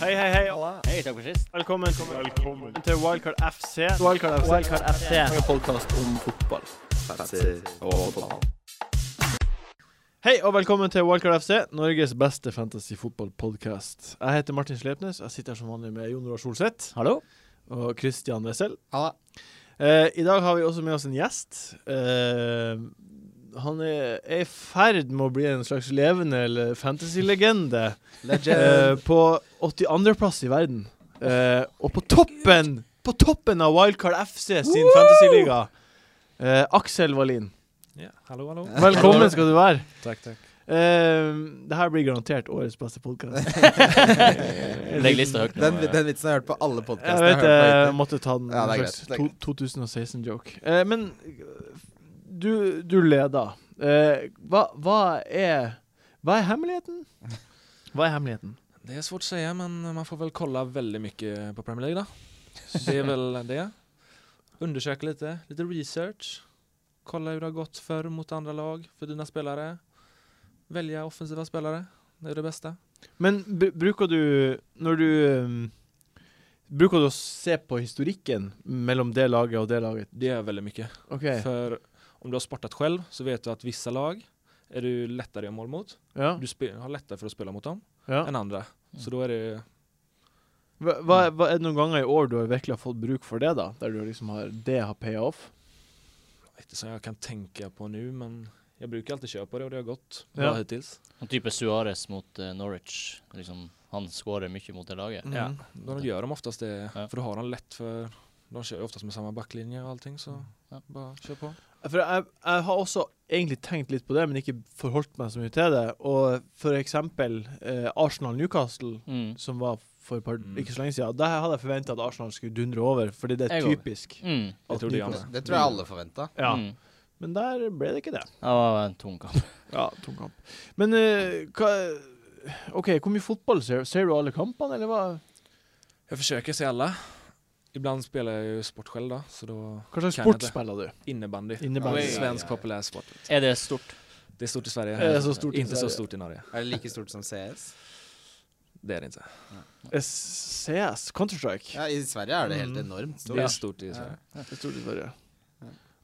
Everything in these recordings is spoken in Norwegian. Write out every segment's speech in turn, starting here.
Hei, hei, hei. Hei, takk for sist. Velkommen, til Wildcard FC. Wildcard FC. Wildcard FC. En podkast om fotball. Hei og velkommen til Wildcard FC, Norges beste fantasy-fotballpodkast. Jeg heter Martin Slepnes. Jeg sitter her som vanlig med Jon Roar Solseth Hallo. og Christian Wessel. Ja, Eh, I dag har vi også med oss en gjest. Eh, han er er i ferd med å bli en slags levende eller fantasy-legende. Eh, på 82.-plass i verden. Eh, og på toppen På toppen av Wildcard FC sin fantasyliga, eh, Aksel Wallin. Ja, hallo, hallo. Velkommen skal du være. Takk, takk. Eh, det her blir garantert årets beste podkast. eh, Legg lista høyt nå. Den, den vitsen har jeg hørt på alle Jeg podkastene. vet jeg eh, måtte ta den Ja, en det er slags greit, det er to- 2016-joke. Eh, men du, du leder. Eh, hva, hva er Hva er hemmeligheten? Hva er hemmeligheten? Det är svårt att säga, men man får väl kolla väldigt mycket på Premier League då. Så det är väl det. Undersöka lite, lite eh, research. Kolla hur det har gått för mot andra lag, för dina spelare. Välja offensiva spelare, det är det bästa. Men br bruker du Når du um, Bruker du å se på historikken mellom det laget og det laget? Det är väldigt mycket. OK. För om du har sportat själv så vet du att vissa lag är du lättare att göra mål mot. Ja. Du spe- har lättare för att spela mot dem ja. Mm. än andra. Så då är det Hva, hva, Mm. hva Er det noen ganger i år du har virkelig har fått bruk for det, da? Der du liksom har Det har paya off? inte som jag kan tänka på nu, men jag brukar alltid köra på det och det har gått Ja. bra hittills. En type Suárez mot eh, Norwich. Liksom, han skårer mye mot det laget. Ja, Mm. de gör de oftast det, Ja. för då har de lätt för de kör ju oftast med samma backlinje och allting så Ja. bara kör på. For jeg, jeg har også egentlig tenkt litt på det, men ikke forholdt meg så mye til det. Og for eksempel eh, Arsenal-Newcastle, Mm. som var for et par, Mm. ikke så lenge siden, der hadde jeg forventa at Arsenal skulle dundre over, fordi det er Jeg også. typisk. Mm. Det at trodde jeg Newcastle- Det tror jeg alle forventa. Ja. Mm. Men der ble det ikke det. Det var en tung kamp. Ja, tung kamp. Men eh, hva OK, hvor mye fotball ser, ser du alle kampene, eller hva? Jag försöker se alla. Ibland spelar jag ju sport själv då, så då Hva slags Kan sport jeg det? spiller du? innebandy. Innebandy. Oi, Svensk ja, ja. populär sport. Er det stort? Det är stort i Sverige. Er det så stort i inte så Sverige? stort i Norge. Er det like stort som CS? Det är det inte. Eh, CS, Counter-Strike. Ja, I Sverige er det helt Mm. enormt Det är stort. stort i Sverige. Det står det for, ja.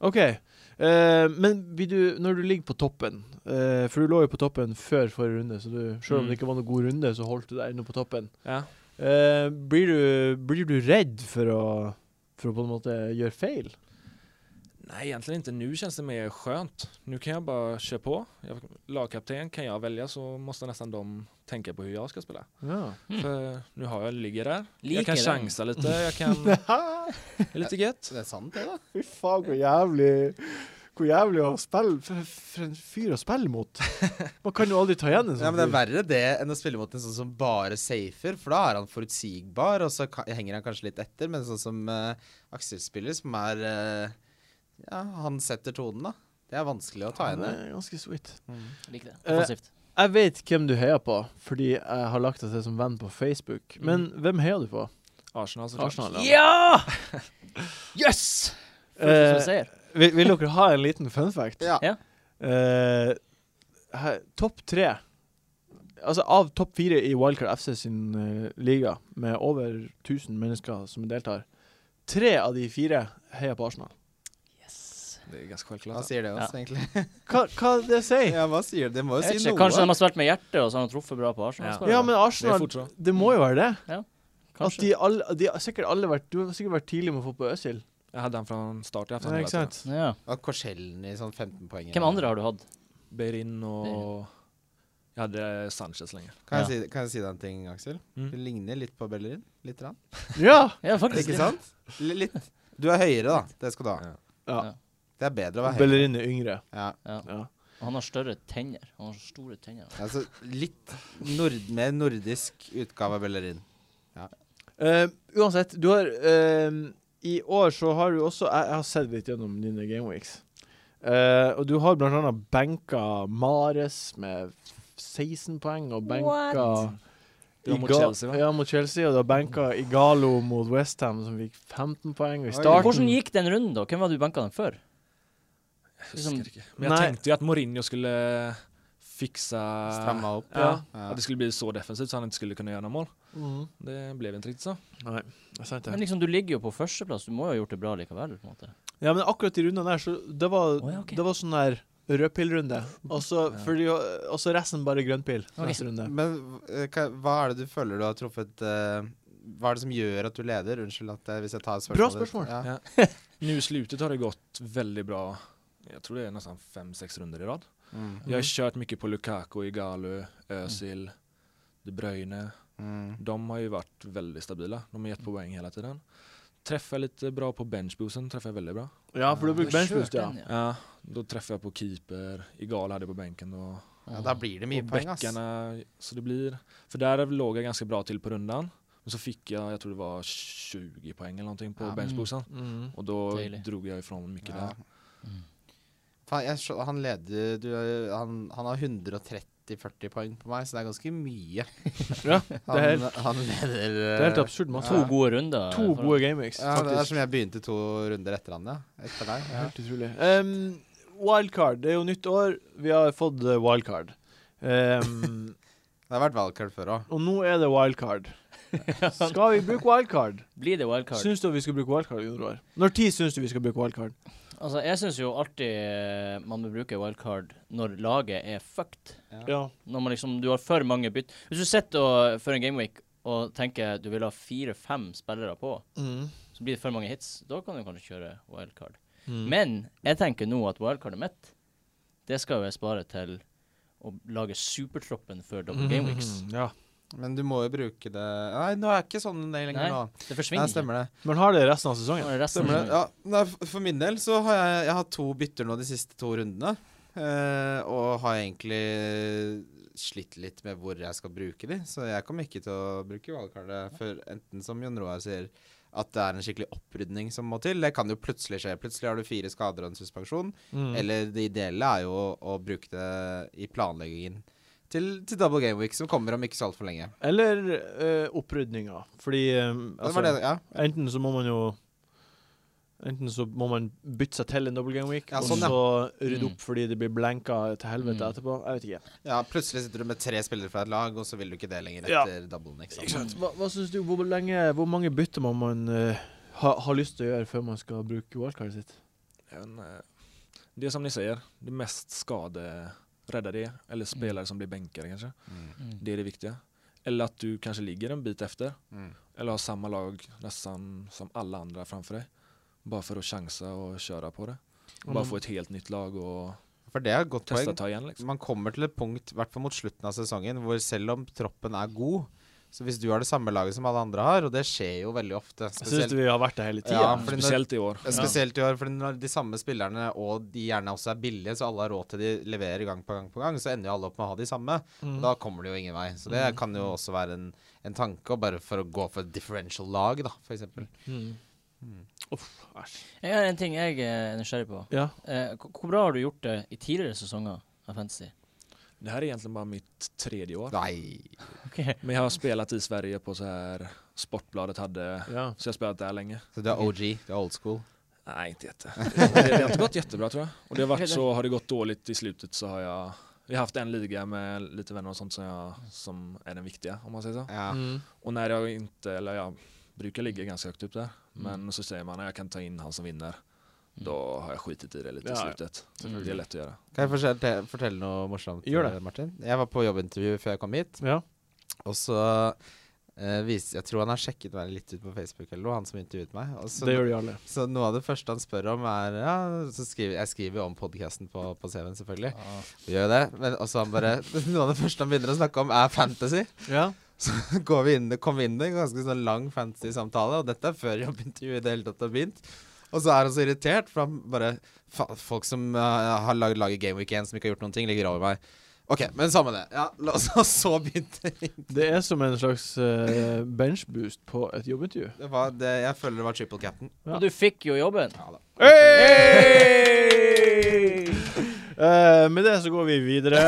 OK. eh, men vil du, når du ligger på toppen eh, For du lå jo på toppen før forrige runde, så du, selv om Mm. det ikke var noen god runde, så holdt du deg ennå på toppen. Ja. Eh, blir, du, blir du redd for å, for å på en måte gjøre feil? Nej, egentligen inte. Nu känns det mer skönt. Nu kan jag bara köra på. Jag, lagkapten kan jag välja så måste nästan de tänka på hur jag ska spela. Ja. Mm. För nu har jag, ligger där. Ligger jag kan där. chansa lite. Jeg kan... Det är lite gött. Det er sant, det, da. Fy faen, hvor jævlig Hvor jævlig å spille For, for en fyr å spille mot. Man kan jo aldri ta igjen en Ja, sånn men Det er fyr. verre det enn å spille mot en sånn som bare safer, for da er han forutsigbar, og så ka henger han kanskje litt etter, men sånn som eh, Aksel spiller, som er eh, Ja, han setter tonen, da. Det er vanskelig å ta igjen. Ja, det. det er ganske sweet. Liker det. Eh, Offensivt. Jeg vet hvem du heier på, fordi jeg har lagt deg til som venn på Facebook. Mm. Men hvem heier du på? Arsenal såklart. Arsenal? ja. Ja! Yes! Eh, Første som seier. vil, vil dere ha en liten fun fact? Ja. Ja. Eh, her- topp tre Altså av topp fire i Wildcard FC sin eh, liga, med over 1000 mennesker som deltar, tre av de fire heier på Arsenal. Yes. Det er ganske Hva självklart. sier det oss, egentlig? Hva, hva det sier Ja, hva sier det? Det må jo Jeg vet si ikke, noe. kanskje de har spilt med hjertet, og så har de truffet bra på Arsenal. Ja. Skal det Ja, være? men Det er Arsenal fort så. Det må jo være det. At Kanskje. de, alle, de har sikkert alle vært Du har sikkert vært tidlig med å få på Øsil. Jeg hadde han fra start i Ja, aften. ikke sant? Ja. Og Korsellen i sånn 15 poeng. Hvem andre har du hatt? Beirin og Jeg hadde Sanchez lenge. Kan jeg, si, kan jeg si deg en ting, Aksel? Mm. Du ligner litt på Bellerin. Litt. Rann. Ja! Ja, faktisk. Ikke sant? L litt. Du er høyere, da. Det skal du ha. Ja. Ja. Ja. Det er bedre å være høyere. Bellerin er yngre. Ja. Ja. Ja. Og han har større tenner. Han har store tenner. Altså, litt nord mer nordisk utgave av Bellerin. Eh, uansett, du har eh, I år så har du også Jeg, jeg har sett litt gjennom dine gameweeks. Eh, og du har blant annet benka Mares med 16 poeng, og benka Det var mot Iga- Chelsea, va? Ja, mot Chelsea, og du har benka Igalo mot Westham, som fikk 15 poeng. Og i Oi. starten Hvordan gikk den runden, da? Hvem var det du benka den før? Jeg Liksom- husker ikke. Men jeg Nei. tenkte jo at Mourinho skulle fixa... Stramma opp. Ja, Ja. Att det skulle bli så defensivt så han inte skulle kunna göra några mål. Det blev inte riktigt så. Mhm. Nei, jeg sa ikke Men det. liksom, du ligger jo på førsteplass, du må jo ha gjort det bra likevel. på en måte. Ja, men akkurat de rundene der, så det var, Å, ja, ok. det var sånn der rødpillrunde. Og så Ja. fordi- og så resten bare grønnpill. Ok. Neste runde. Men eh, hva, hva er det du føler du har truffet eh, Hva er det som gjør at du leder? Unnskyld at jeg, hvis jeg tar et spørsmål. Bra spørsmål. Ja. Ja. Nu i slutet har det gått väldigt bra. Jag tror det är nästan fem, sex runder i rad. Mm. Jag har Mm. kört mycket på Lukaku, Igalo, Özil, De Bruyne. Mm. De har ju varit väldigt stabila. De har gett poäng hela tiden. Träffar lite bra på benchboosten, träffar jag väldigt bra. Ja, for du bruker benchboost, ja. Kjørt den, Ja. då träffar jag på keeper, Igal hade jag på bänken då. Ja, da blir det mye och poeng, ass. bäckarna, så det blir... För där låg jag ganska bra till på rundan. Men så fick jag, jag tror det var 20 poäng eller någonting på Ja. benchboosten. Mm. Och då Dejligt. drog jag ifrån mycket Ja. där. Mm. Faen, jeg, skjø- han leder du, han, han har 130-40 poeng på meg, så det er ganske mye. Ja, Han, er helt- han leder eh, Det er helt absurd. Man To får gode runder. to for- gode gameweeks, ja, Det er faktisk. som jeg begynte to runder etter han, ja. Etter deg. Ja. Helt utrolig. Ehm, wildcard. Det er jo nytt år. Vi har fått eh, wildcard. Ehm, Det har vært valgkart før òg. og nå er det wildcard. Skal vi bruke wildcard? Blir det wildcard? Syns du at vi skal bruke wildcard? Gunnar Roar? Når tid syns du vi skal bruke wildcard? Altså, jeg syns jo alltid eh, man bør bruke wildcard når laget er fucked. Ja. Når man liksom, du har for mange bytt Hvis du sitter og, før en gameweek og tenker du vil ha fire-fem spillere på, Mm. så blir det for mange hits. Da kan du kanskje kjøre wildcard. Mm. Men jeg tenker nå at wildcardet mitt, det skal jo jeg spare til å lage supertroppen før double gameweeks. Mm, ja. Men du må jo bruke det Nei, nå er ikke sånn det lenger Nei, nå. Det Nei, forsvinner ikke. stemmer det. Men har det resten av sesongen? Nå er det resten Stemmer det. Mm. som- Ja, nei, f- for min del så har jeg, jeg har hatt to bytter nå de siste to rundene. eh, og har egentlig slitt litt med hvor jeg skal bruke de. Så jeg kommer ikke til å bruke valgkartet før enten som Jon Roar sier, at det er en skikkelig opprydning som må til. Det kan jo plutselig skje. Plutselig har du fire skader og en suspensjon. Mm. Eller det ideelle er jo å, å bruke det i planleggingen til, til double game week, som kommer om ikke så altfor lenge. Eller eh, opprydninga. Fordi eh, Det altså, var det, ja. enten så må man jo Enten så må man bytte seg til en double game week, Ja, sånn, ja. og så rydde Mm. opp fordi det blir blenka til helvete Mm. etterpå. Jeg vet ikke. ja. Plutselig sitter du med tre spillere fra et lag, og så vil du ikke det lenger Ja. etter doublen. Ikke sant? Hva, hva synes du, hvor, lenge, hvor mange bytter må man eh, ha, ha lyst til å gjøre før man skal bruke wildcardet sitt? En, eh, det är som ni säger, det mest skaderäddade eller spelare som blir bänkare kanske. Mm. Mm. Det är det viktiga. Eller att du kanske ligger en bit efter Mm. eller har samma lag nästan som alla andra framför dig. Bara för att chansa och köra på det. Om Bara de- få ett helt nytt lag och For det er et godt testa poeng. ta igen liksom. Man kommer til et punkt, i hvert fall mot slutten av sesongen, hvor selv om troppen er god Så hvis du har det samme laget som alle andre har, og det skjer jo veldig ofte Jeg syns Spesielt, vi har vært der hele tida. Ja, fordi når- Speciellt i år. spesielt i år, for når de samme spillerne og de gjerne også er billige, så alle har råd til de leverer gang på gang på gang, så ender jo alle opp med å ha de samme. Mm. Da kommer det jo ingen vei. Så det Mm. kan jo også være en, en tanke, og bare for å gå for et differential lag, da, for eksempel. Mm. Mm. Uff, æsj. Jeg har en ting jeg eh, er nysgjerrig på. Ja. Eh, hvor hvor bra har du gjort det i tidligere sesonger av Fantasy? Det här är egentligen bara mitt tredje år. Nei. Okay. Men jag har spelat i Sverige på så här Sportbladet hade ja. så jag har spelat där länge. Så du er OG, du er old school. Nej, inte jätte. Det, det har inte gått jättebra tror jag. Och det har varit så, har det gått dåligt i slutet så har jag, vi har haft en liga med lite vänner och sånt som, jag, som är den viktiga om man säger så. Ja. Mm. Och när jag inte, eller jag brukar ligga ganska högt upp där, men Mm. så säger man att jag kan ta in han som vinner, då har jag skitit i det lite Ja, i ja. slutet. Mm. Det är lätt att göra. Kan jeg fortelle, fortelle noe morsomt, Gjør det. eh, Martin? Jeg var på jobbintervju før jeg kom hit. ja. Og så eh, vis- Jeg tror han har sjekket meg litt ut på Facebook, eller noe, han som intervjuet meg. Og så, Det gjør de alle. så noe av det første han spør om, er ja, så skriver, Jeg skriver jo om podkasten på, på CV-en, selvfølgelig. Ah. Vi gjør jo det. Men også han bare Noe av det første han begynner å snakke om, er fantasy. Ja. Går vi inn, kom vi inn i en ganske sånn lang fantasy-samtale, og dette er før jobbintervjuet i det hele tatt har begynt. Og så er han så irritert, for han bare "Fa- Folk som eh, har laget laget Game Week 1, som ikke har gjort noen ting, ligger over meg. OK, men samme det. Ja, la oss Og så begynte Det er som en slags eh, benchboost på et jobbintervju. Det var det, jeg føler det var triple captain. Ja. Og du fikk jo jobben. Ja da. Hey! Eh, med det så går vi videre.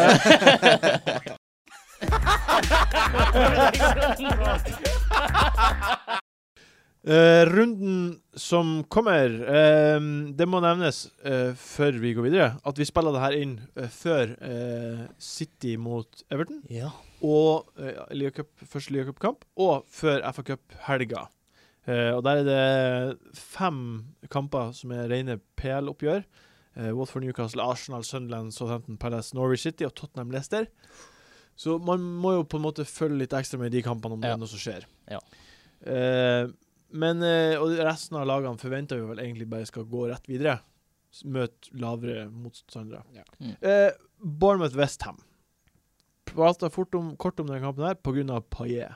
Eh, runden som kommer eh, Det må nevnes eh, før vi går videre, at vi spiller det her inn eh, før eh, City mot Everton Ja. og eh, Liga Cup, første Liga Cup-kamp, og før FA Cup-helga. Eh, og der er det fem kamper som er rene PL-oppgjør. Eh, Watford, Newcastle, Arsenal, Sunderland, Southampton Palace, Norwich City og Tottenham Leicester. Så man må jo på en måte følge litt ekstra med i de kampene om det Ja. er noe som skjer. Ja. Eh, men eh, Og resten av lagene forventer vi vel egentlig bare skal gå rett videre. S- Møte lavere motstandere. Ja. Mm. Eh, Bournemouth-Westham. Prata fort om, kort om den kampen her pga. Paillet.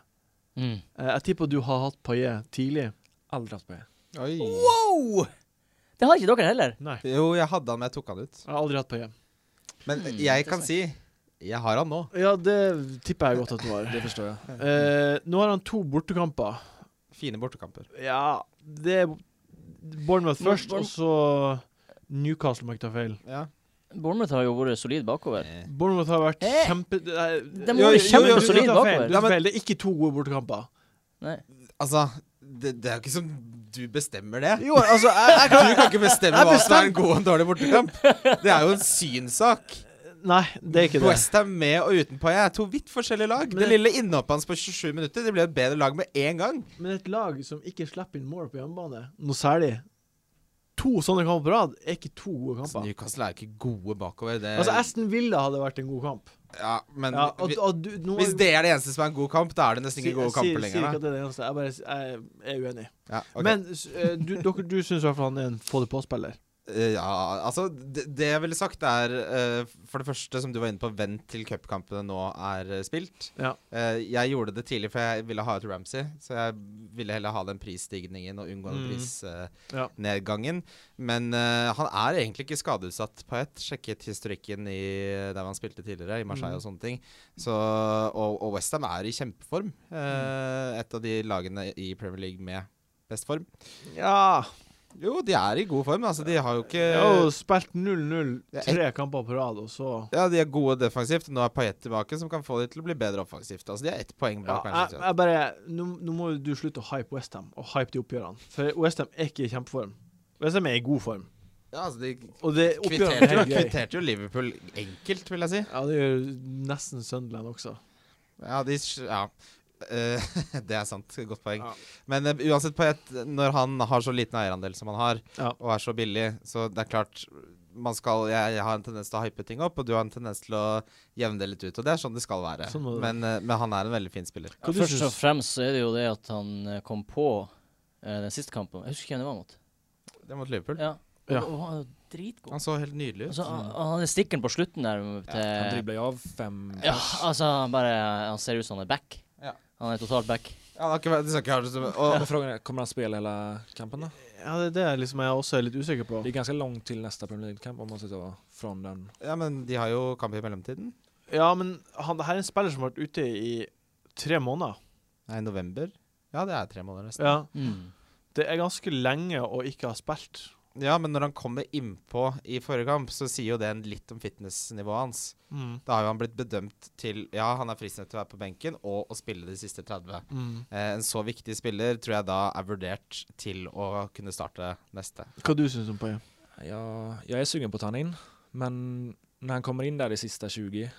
Mm. Eh, jeg tipper du har hatt Paillet tidlig. Aldri hatt på. Oi. Wow! Det har ikke dere heller. Nei. Jo, jeg hadde han, men jeg tok han ut. Jeg har aldri hatt Paillet. Men Hmm, jeg kan si jeg har han nå. Ja, det tipper jeg godt at du har. Det forstår jeg. Eh, nå har han to bortekamper. Fine bortekamper. Ja, det er Bournemouth Men først, og Bourne- så Newcastle, om jeg ikke tar feil. Ja. Bournemouth har jo vært solid bakover. Eh, Bournemouth har vært Eh, kjempe... Nei, jo, de har vært jo, jo, kjempesolid du tar feil, bakover. du Ja, tar men- feil. Det er ikke to gode bortekamper. Nei. Altså, det, det er jo ikke som du bestemmer det. Jo, altså, jeg, jeg Du kan ikke bestemme hva som er en god og en dårlig bortekamp. Det er jo en synssak. Nei, det er ikke det. Westham med og uten Paillet er to vidt forskjellige lag. Men det det- lille innhoppet hans på 27 minutter Det ble et bedre lag med en gang. Men et lag som ikke slipper inn mål på hjemmebane, noe særlig To sånne kamper på rad er ikke to gode Altså, kamper. Newcastle er ikke gode bakover. Det, Altså, Aston Villa hadde vært en god kamp. ja, Eh, men Ja, og, vi, og du, nå, hvis det er det eneste som er en god kamp, da er det nesten Si- ikke gode jeg sier- sier kamper lenger. ikke Da. at det er det eneste. Jeg bare jeg er uenig. Ja, ok. Men s- eh, du, dere, du syns i hvert fall han er en få det på-spiller. Eh, ja, altså det, det jeg ville sagt, er eh, for det første, som du var inne på, vent til cupkampene nå er eh, spilt. Ja. Eh, jeg gjorde det tidlig, for jeg ville ha ut Ramsey. Så jeg ville heller ha den prisstigningen og unngå den Mm. Ja. prisnedgangen. Men eh, han er egentlig ikke skadeutsatt på ett. Sjekket historikken i der han spilte tidligere, i Marseille Mm. og sånne ting. Så, og og Westham er i kjempeform. Mm. Eh, et av de lagene i Premier League med best form. Ja. Jo, de er i god form. Altså, de har jo ikke Jeg har jo spilt 0-0 Ja, tre kamper på rad, og så Ja, de er gode defensivt. Nå er Payet tilbake, som kan få de til å bli bedre offensivt. Altså, De er ett poeng ja, bak jeg, Manchester United. jeg bare, nå, nå må du slutte å hype Westham og hype de oppgjørene. For Westham er ikke i kjempeform. Westham er i god form. Ja, altså, de Og det oppgjørene kvitterte, er jo- helt greit. kvitterte jo Liverpool enkelt, vil jeg si. Ja, det gjør nesten Sunderland også. Ja, de s- Ja. Eh, det er sant. Godt poeng. Ja. Men eh, uansett, Payet, når han har så liten eierandel som han har, Ja. og er så billig, så det er klart man skal, jeg, jeg har en tendens til å hype ting opp, og du har en tendens til å jevne det litt ut. Og det er sånn det skal være. Sånn må det være. men, eh, men han er en veldig fin spiller. Hva du Først og syns? fremst så er det jo det at han eh, kom på eh, den siste kampen. Jeg husker ikke hvem det var mot. Det er mot Liverpool. Ja. Og- Ja. Og han er jo dritgod. Han så helt nydelig ut. Altså, han, han hadde stikken på slutten der mm, til Han ja, dribler jo av fem altså, han bare Han ser ut som han er back. Ja. Han er totalt back. Ja, han har ikke vært- det skal ikke ha det som og, Men frågan är, kommer han spela hela kampen då? Ja, det er det jeg liksom jeg også er litt usikker på. Det är ganska långt till nästa Premier League-kamp om man ska ta från den. Ja, men de har jo kamp i mellomtiden. Ja, men han, det her er en spiller som har vært ute i tre måneder. Nei, november. Ja, det er tre måneder nesten. Ja, Mm. Det er ganske lenge å ikke ha spilt. Ja, men når han kommer innpå i forrige kamp, så sier jo det en litt om fitnessnivået hans. Mm. Da har jo han blitt bedømt til Ja, han er fristende til å være på benken og å spille de siste 30. Mm. Eh, en så viktig spiller tror jeg da er vurdert til å kunne starte neste. Hva du syns om Paye? Jag, jag är sugen på att ta han in, men när han kommer in där i sista 20-30,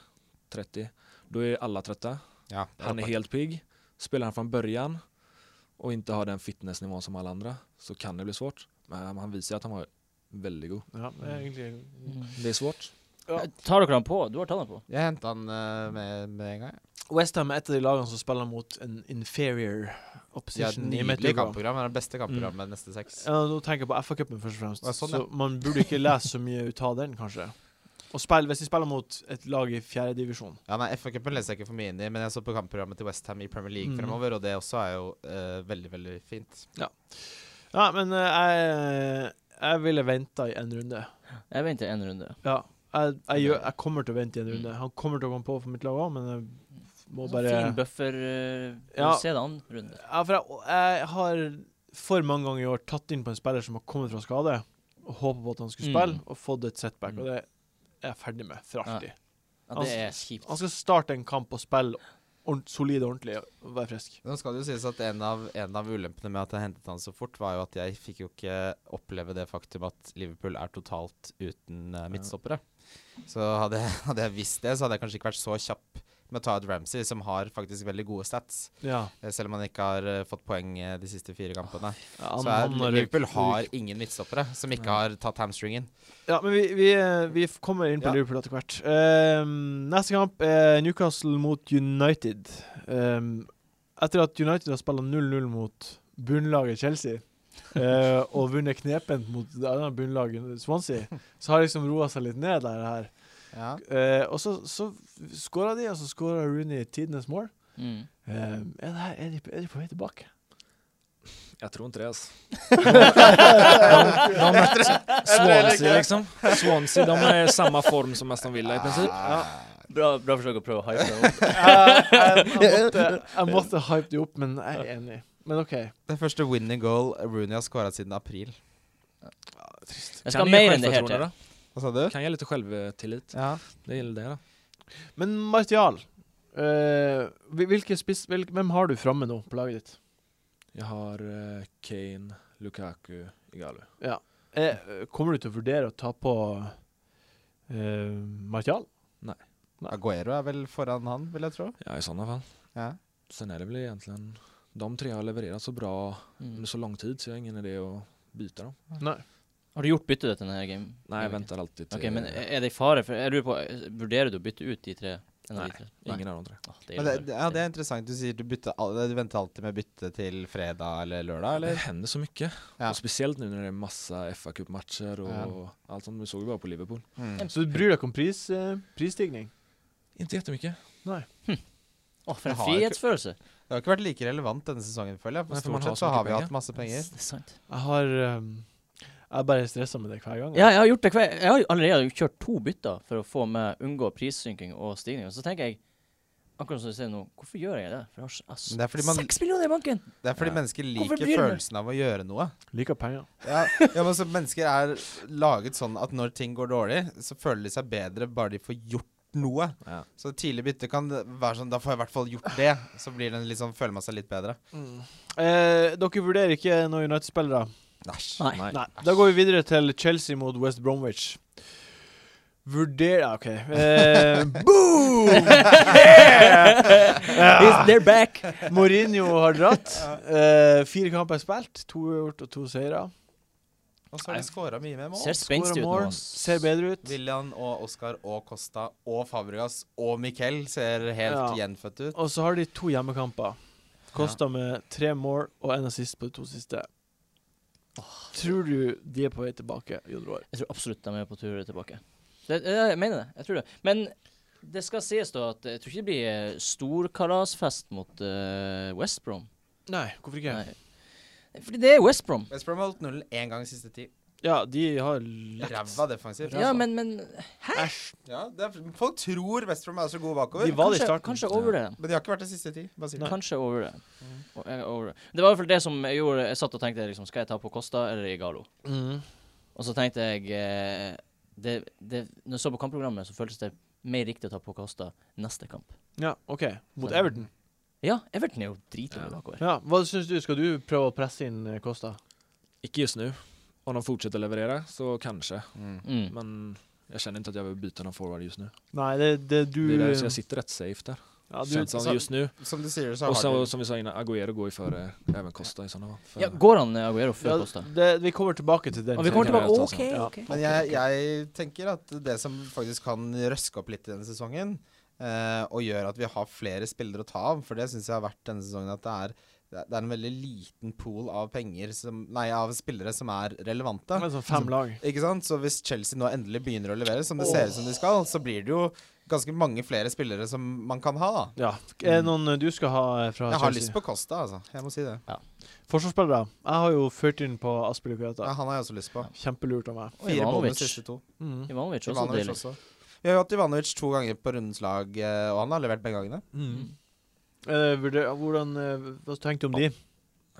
då är alla trötta. Ja, det Han är håper jeg. helt pigg. Spelar han från början och inte har den fitnessnivån som alla andra så kan det bli svårt. Men han visar ju att han var väldigt god. Ja, det er egentlig Mm. Det är svårt. Ja. Eh, Tar dere han på? Du har tatt han på? Jeg henta han eh, med, med en gang. jeg. Westham er et av de lagene som spiller mot en inferior De har et opposition i nydelig midtuka. kampprogram. Det er det beste kampprogrammet neste seks. Ja, nå tenker jeg på FA-cupen først og fremst, Ja, sånn, så man burde ikke lese så mye ut av den, kanskje. Og spill, hvis de spiller mot et lag i fjerdedivisjon Ja, nei, FA-cupen leser jeg ikke for mye inn i, men jeg så på kampprogrammet til Westham i Premier League Mm. fremover, og det også er jo eh, veldig, veldig fint. Ja, men eh, jeg, jeg ville venta i en runde. Jeg venter en runde. Ja. Jeg, jeg, gjør, jeg kommer til å vente i en runde. Han kommer til å komme på for mitt lag òg, men jeg må Sånn bare Fin buffer. eh, Ja. Se det an runde. Ja, for jeg, jeg har for mange ganger i år tatt inn på en spiller som har kommet fra skade, og håpet på at han skulle Mm. spille, og fått et setback, Mm. og det er jeg ferdig med for alltid. Ja, det er kjipt. altså, Han skal starte en kamp og spille ordent- solid og ordentlig og være frisk. Nå skal det jo sies at en av, en av ulempene med at jeg hentet han så fort, var jo at jeg fikk jo ikke oppleve det faktum at Liverpool er totalt uten eh, midtstoppere. Så hadde jeg, hadde jeg visst det, så hadde jeg kanskje ikke vært så kjapp med å ta ut Ramsey, som har faktisk veldig gode stats, Ja. eh, selv om han ikke har eh, fått poeng eh, de siste fire kampene. han- så er, han har- Liverpool har ingen midtstoppere som ikke har tatt hamstringen. Ja, men vi, vi, eh, vi f- kommer inn på Ja. Liverpool etter hvert. Ehm, neste kamp er Newcastle mot United. Ehm, etter at United har spilt 0-0 mot bunnlaget Chelsea eh, og vunnet knepent mot det andre bunnlaget Swansea, så har liksom roa seg litt ned der. her. Ja. Eh, og så, så skåra de, og så skåra Rooney tidenes mål. Mm. Ehm, er, det her, er, de, er de på vei tilbake? Jeg tror ikke det, altså. De møtte Swansea, liksom. Swansea de er i samme form som Aston Villa, i prinsipp. Ah. Bra, bra forsøk å prøve å hype det opp. jeg, jeg, måtte, jeg måtte hype de opp, men jeg er enig. Men OK. Det første winning goal Rooney har skåra siden april. Jeg Kan ge skal ha mer enn det her självförtroende til. då? Hva sa du? Kan ge lite självtillit. Ja. Det gäller det. Då. Men Martial, eh, hvil- hvilke spiss, hvil, hvem har du framme nå på laget ditt? Jag har eh, Kane, Lukaku, Igalo. Eh, kommer du til å vurdere å ta på eh, Martial? Aguero er vel foran han, vil jeg tro. Ja, i sådana fall. Ja. Sen är det väl egentligen, de tre har levererat så bra Mm. under så lång tid så jag har ingen idé att byta dem. Nei. Har du gjort bytte til denne game? Nej, jag väntar alltid till... Ok, men eh, er det i fare for Jeg lurer på, vurderer du å bytte ut de tre? En av Nei, de tre? Ingen av de tre. Åh, Men det, det- ja, det er interessant. Du sier du, bytter, al- du venter alltid med bytte til fredag eller lørdag, Det eller? händer så mycket. Ja. Och speciellt nu när det är massa fa Cup-matcher och Ja. allt sånt. Vi såg ju bara på Liverpool. Så du bryr deg ikke om pris, eh, prisstigning? Inte jättemycket. Åh, for Jeg en har frihetsfølelse! Det har ikke vært like relevant denne sesongen, føler jeg. For Nei, for man stort har sett så så mye har vi penger. hatt masse penger. Det er sant. Jeg har eh, Jeg er bare stressa med det hver gang. Ja, jeg har gjort det hver Jeg har allerede kjørt to bytter for å få med unngå prissynking og stigning. Og så tenker jeg, akkurat som du sier nå, hvorfor gjør jeg det? For jeg har s- ass, Men det er fordi man- seks millioner i banken! Det er fordi Ja. mennesker Hvorfor liker bryr du deg? følelsen av å gjøre noe. Liker penger. Ja, ja, men så Mennesker er laget sånn at når ting går dårlig, så føler de seg bedre bare de får gjort noe. Ja. Så tidlig bytte kan være sånn Da får jeg i hvert fall gjort det. Så blir det litt sånn, føler man seg litt bedre. Eh, dere vurderer ikke noen United-spillere? Æsj. Nei. Nei. Nei. Da går vi videre til Chelsea mot West Bromwich. Vurder... Ja, OK. Eh, boom! He's- They're back! Mourinho har dratt. Eh, fire kamper er spilt, to uavgjort og to seire. Og så har de scora mye med mål. Ser spenstig ut nå. Skårer mål, ass. Ser bedre ut. William og Oscar og Costa og Fabregas og Miquel ser helt Ja. gjenfødt ut. Og så har de to hjemmekamper. Kosta med tre mål og en assist på de to siste. Tror du de er på vei tilbake, Jon Roar? Jeg tror absolutt de er på tur tilbake. Det, ja, jeg mener det. Jeg tror det. Men det skal sies da at jeg tror ikke det blir eh, storkalasfest mot eh, West Brom. Nei, hvorfor ikke? Nei. Fordi det er West Brom. West Brom har holdt nullen én gang siste ti. Ja, de har lekt. Ræva defensivt. Ja, men, men Ja, det er, folk tror West Brom er så gode bakover, De var det i kanskje, starten. kanskje over det. men de har ikke vært det siste ti. Bare si det. Kanskje over det. Mm. Og jeg er over det. Det var i hvert fall det som jeg gjorde. Jeg satt og tenkte liksom, skal jeg ta på Costa eller Igalo? Mm. Og så tenkte jeg eh, det, det, Når jeg så på kampprogrammet, så føltes det mer riktig å ta på Costa neste kamp. Ja, OK. Mot Everton. Ja, Everton er jo dritdårlig bakover. Ja, Hva syns du? Skal du prøve å presse inn eh, Kosta? Ikke just nu. Om de fortsetter leverera så kanskje. Mm. Mm. Men jag känner ikke at jeg vil byta någon forward just nu. Nei, det, det du Det eh, är där, så jag sitter rätt safe där. ja, du- Känns som så- just nu. Som du sier, så Och har så, de som vi sa innan, Aguero går ju före även Costa i sådana fall. Ja, går han eh, Aguero før ja, Costa? det, Vi kommer tilbake til den. Og vi kommer senere. tilbake Ja, OK, ja. OK. Men jeg, jeg tenker at det som faktisk kan røske opp litt i denne sesongen, eh, og gjør at vi har flere spillere å ta av, for det syns jeg har vært denne sesongen at det er, det er en veldig liten pool av penger som, Nei, av spillere som er relevante. Men sånn fem lag. Ikke sant? Så hvis Chelsea nå endelig begynner å levere, som det ser ut som de skal, så blir det jo ganske mange flere spillere som man kan ha, Ja. da. Er det noen eh, du skal ha eh, fra Jeg har lyst Chelsea? på Costa, altså. Jeg må si det. Forsvarsspillere. Jeg har jo ført inn på Aspille Kujata. Ja, han har jeg også lyst på. Kjempelurt av meg. Fire Ivanovic. bonus siste to. Mm. Ivanovic også Ivanovic deilig. også. Vi har jo hatt Ivanovic to ganger på rundens lag, eh, og han har levert begge gangene. Mm. Mm. Eh, vurder- hvordan, eh, hva tenkte du om de?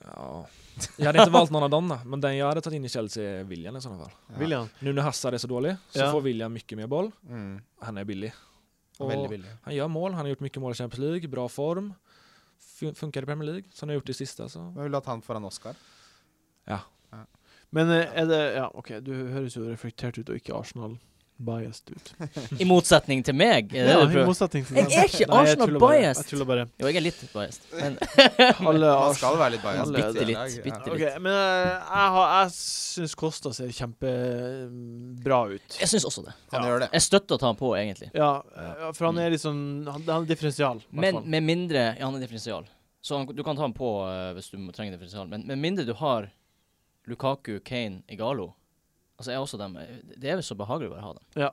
Ja. Jag hade inte valt någon av dem då, men den jag hade tagit in i Chelsea är William i sådana fall. Ja. William? Nu när Hazard är så dålig så Ja. får William mycket mer boll. Mm. Han är billig. Veldig Och billig. han gör mål, han har gjort mycket mål i Champions League, bra form. Fun- Funkar i Premier League, som han har gjort i sista. Så. Men vil du at han foran Oscar? Men eh, er det Ja, OK, du høres jo reflektert ut, og ikke Arsenal-biased ut. I motsetning til meg. Er det Ja, det du i prøver? motsetning til Jeg dem. er ikke Nei, jeg Arsenal tuller bare. biased. Jeg tuller bare. Jo, jeg er litt biased, men Alle Man Arsenal skal være litt bias. Bitte Det er litt, i dag, bitte Ja. Ok, men eh, jeg, har- jeg syns Kosta ser kjempebra ut. jeg syns også det. Han Ja. gjør det. Jeg støtter å ta han på, egentlig. Ja, eh, for han er liksom Han, han er differensial. i hvert Men fall. med mindre Ja, han er differensial. Så han, du kan ta han på eh, hvis du må- trenger differensial. Men med mindre du har Lukaku, Kane, Igalo Altså, jeg er også dem. Det er jo så behagelig å bare ha dem.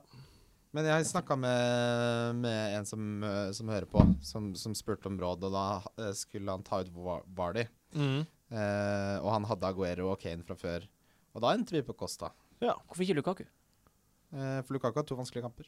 Men jeg snakka med, med en som, eh, som hører på, som, som spurte om råd, og da eh, skulle han ta ut Wa- Vardy. Mhm. Eh, og han hadde Aguero og Kane fra før. Og da endte vi på Costa. Hvorfor ikke Lukaku? Eh, for Lukaku har to vanskelige kamper.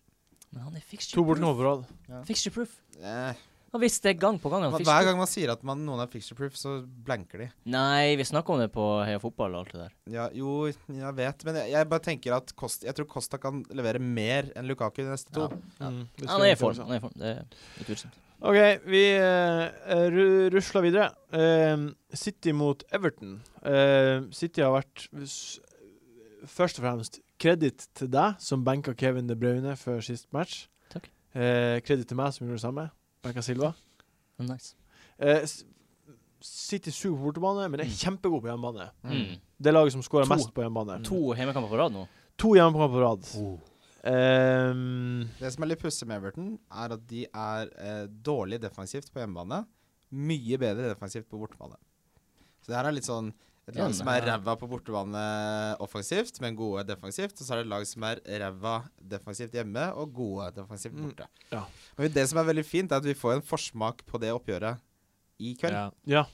Men han er fixture To bort proof. nå på rad. Fixture proof. Eh, Han visste det gang på gang. Han men fixture hver proof. gang man sier at man, noen er fixture proof, så blanker de. Nei, vi snakka om det på Heia Fotball og alt det der. Ja, jo, jeg vet, men jeg, jeg bare tenker at Costa, jeg tror Costa kan levere mer enn Lukaku de neste to. Ja. Mm, det skal Han er jeg i form. også. Han er i form. Det er utvilsomt. OK, vi eh, ru- rusler videre. Eh, City mot Everton. Eh, City har vært s- Først og fremst kreditt til deg, som benka Kevin De Bruyne før sist match. Takk. Eh, kreditt til meg, som gjorde det samme. Benka Silva. Nice. Eh, s- City suger på bortebane, men er kjempegod på hjemmebane. Mm. Det laget som skårer To. mest på hjemmebane. To hjemmekamper på rad nå. To hjemmekamper på rad. Ehm, Det som er litt pussig med Everton, er at de er eh, dårlig defensivt på hjemmebane. Mye bedre defensivt på bortebane. Så det her er litt sånn et Ja, lag men som er her- ræva på bortebane offensivt, men gode defensivt. Og så er det et lag som er ræva defensivt hjemme og gode defensivt Mm, borte. ja. Men det som er veldig fint, er at vi får en forsmak på det oppgjøret i kveld. Ja. ja.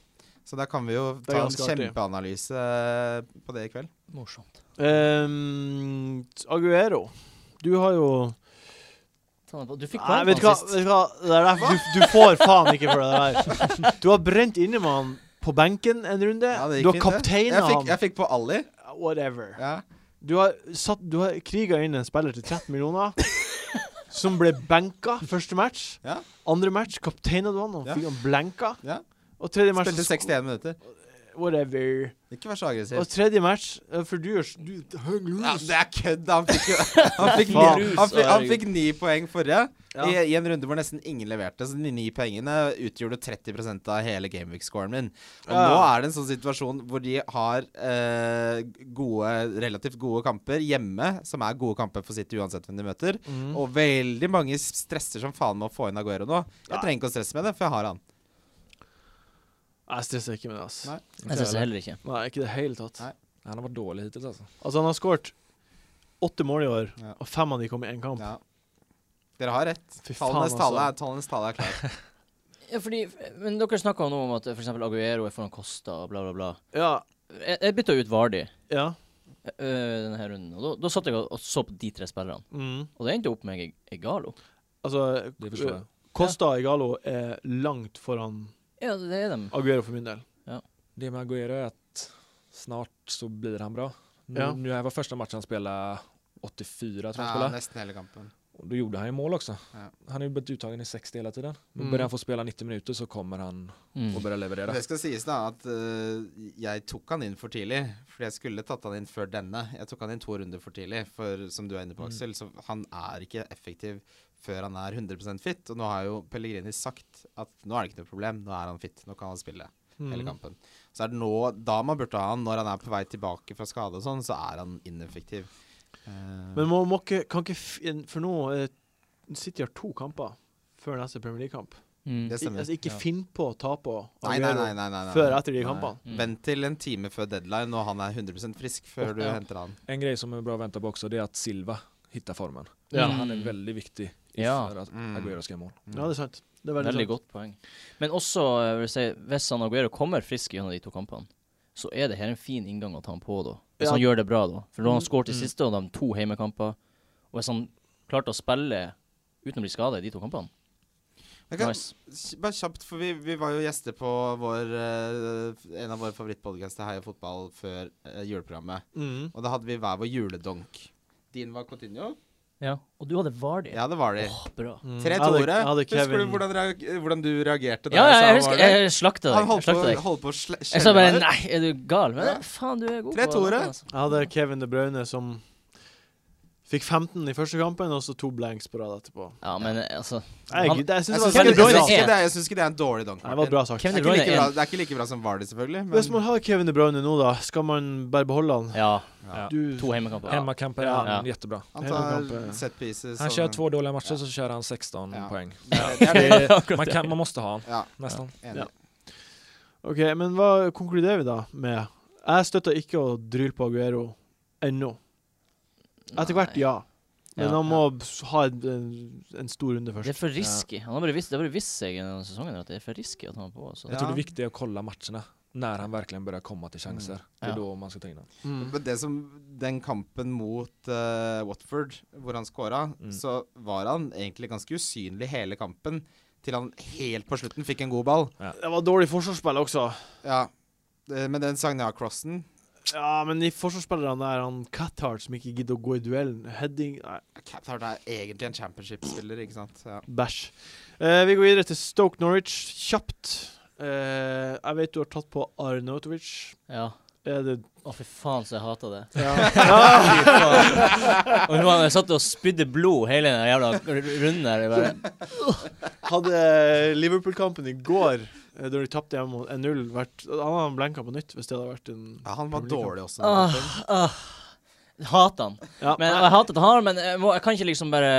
Så da kan vi jo er ta en ganske artig. kjempeanalyse eh, på det i kveld. Morsomt. Ehm, Aguero, du har jo Ta den på. Du fikk Nei, poeng vet du hva, sist. vet du hva? Det er derfor du, du får faen ikke for det der. Du har brent inne med han på benken en runde. Ja, det du gikk har fint, det. kapteina Jeg han. fikk- Jeg fikk på Ali. Whatever. Ja. Du har, satt, du har kriga inn en spiller til 13 millioner, som ble benka første match. Ja. Andre match kapteina du han, og Ja. fikk han blenka. Ja. Og tredje match Spilte 61 minutter. Whatever. Ikke vær så aggressiv. Og tredje match eh, For du gjør s- du, hang Ja, loose. det er kødd. Han fikk, jo, han fikk, ni, Faen. han fikk, han fikk ni poeng forrige, Ja. i, i en runde hvor nesten ingen leverte. Så de ni poengene utgjorde 30 av hele Gameweek-scoren min. Og Ja. nå er det en sånn situasjon hvor de har eh, gode, relativt gode kamper hjemme, som er gode kamper for City uansett hvem de møter. Mm. Og veldig mange stresser som faen med å få inn Aguero nå. Jeg Nei. trenger ikke å stresse med det, for jeg har han. Jeg stresser ikke med det, ass. Nei. Nei, Jeg syns heller ikke. ikke i det hele tatt. Nei. Han har varit dårlig hittills alltså. Altså, han har skåret åtte mål i år, Ja. og fem av de kom i én kamp. Ja. Dere har rett. Fy faen, Tallenes tale, altså. er- tallenes tale er klar. Ja, fordi, men dere snakka nå om at f.eks. Aguero er foran Costa og bla, bla, bla. Ja. Jeg, jeg bytta ut Vardi ja. denne her runden, og da- da satt jeg og og så på de tre spillerne. Mm. Og det endte opp med Eg- Egalo. Altså, Det förstår jag. Costa og Igalo er langt foran Ja, det er dem. Aguero for min del. Det med Aguero är att snart så blir han bra. Nu, Ja. nu här var första matchen han spelade 84 tror jag han Ja, spelade. nesten hele kampen. Och då gjorde han ju mål också. Ja. Han har ju blivit uttagen i 60 hela tiden. Men Mm. börjar han få spela 90 minuter så kommer han Mm. att börja leverera. Det skal sies da at eh, jeg tok han inn for tidlig, fordi jeg skulle tatt han inn før denne. Jeg tok han inn to runder for tidlig, for som du er inne på, Mm. Aksel, så han er ikke effektiv før han er 100 fit. Og nå har jo Pellegrini sagt at nå er det ikke noe problem, nå er han fit, nå kan han spille hele Mm. kampen. Så er det nå, da man burde ha han, når han er på vei tilbake fra skade og sånn, så er han ineffektiv. Eh, Men må, må ikke, kan ikke f For nå eh, City har to kamper før neste Premier League-kamp. Mm. det Ik- stemmer. Altså, ikke Ja. finn på å ta på Nei, nei, nei, nei, nei, nei. før etter de Nei. kampene. Mm. Vent til en time før deadline når han er 100 frisk, før du Ja. henter han. En grej som är bra att vänta på också det är att Silva hittar formen. Ja. Mm. Han är väldigt viktig Ja. för att Mm. Aguero ska göra mål. ja, det er sant. Det er veldig, Veldig sånn. sant. godt poeng. Men også, jeg vil si, hvis han Aguero kommer frisk gjennom de to kampene, så er det her en fin inngang å ta han på, da. Hvis Ja. han gjør det bra, da. For da har han Mm. skåret i Mm. siste, og de to heimekamper. Og hvis han klarte å spille uten å bli skadet i de to kampene, Jeg kan, nice. Kj- Bare kjapt, for vi, vi var jo gjester på vår, eh, en av våre favorittpodcaster, Heia fotball, før eh, juleprogrammet. Mm. Og da hadde vi hver vår juledonk. Din var Cotinho, Ja. Og du hadde Vardy. Ja, det var de. Åh, bra. Tre Mm. Jeg hadde- toere. jeg hadde Husker du Kevin- hvordan, reag- hvordan du reagerte da Ja, ja, sa jeg han husker var der? Jeg Han slakta deg. Jeg holdt på, slakta deg. holdt på å sle- Jeg sa skjelve bare deg. Nei, er du gal? Men Ja. faen, du er god. Tre på toere. dette, altså. Jeg hadde Kevin De Bruyne som fikk 15 i første kampen, og så to blanks på rad etterpå. Ja, men eh, altså Jeg, Han- jeg, jeg syns Jeg det var syns Kevin veldig ikke, det- bra. jeg Bruyne syns ikke er- det- jeg syns ikke det er en dårlig dunk. Nei, Det var Martin. bra sagt. Kevin Det De er ikke Bruyne like er bra, en det er ikke like bra som var det, selvfølgelig. Men Hvis man har Kevin De Bruyne nå, da, skal man bare beholde han? Ja, Ja. Du to heimekamper. Emma Camper er Ja. jättebra. han Hele tar kampen. set pieces Han og- kör två dåliga matcher så kör han 16 Ja. poäng. Det- det er det. Akkurat Man, det. kan, man måste ha han, Ja, nästan. enig. Ja. OK, men hva konkluderer vi da med? Jeg støtter ikke å dryle på Aguero ennå. Etter hvert, Nei. ja. Men Ja. han må s- ha en, en- en stor runde Det først. er for risky. Han har bare visst, det har bare visst seg gjennom sesongen at det er for risky at han er på. Så. Jag Ja. tror det viktiga är att kolla matcherna. När han verkligen börjar komma till chanser. Det är Ja. då man ska ta in honom. Mm. Men det som, den kampen mot eh, Watford, hvor han scora, Mm. så var han egentlig ganske usynlig hele kampen. Til han helt på slutten fikk en god ball. Det var dårlig forsvarsspill også. Ja. Eh, Men den Sagna-crossen Ja, men de forsvarsspillerne der, han Cathart som ikke gidder å gå i duellen, heading Nei, Cathard er egentlig en championship-spiller, ikke sant? Ja. bæsj. Eh, vi går videre til Stoke Norwich kjapt. Eh, jeg vet du har tatt på Arnautovic. Ja. Er det Å, fy faen, så jeg hater det. ja. Fy faen. Og nå har jeg satt og spydde blod hele den jævla r- runden her. Jeg Bare, Hadde Liverpool-kampen i går, eh, da de tapte hjemme mot 1-0, vært Han hadde blenka på nytt hvis det hadde vært en ja, han var dårlig også. den Ah. kampen. ah, hater han. ja, Men og jeg hater han, men jeg, må, jeg kan ikke liksom bare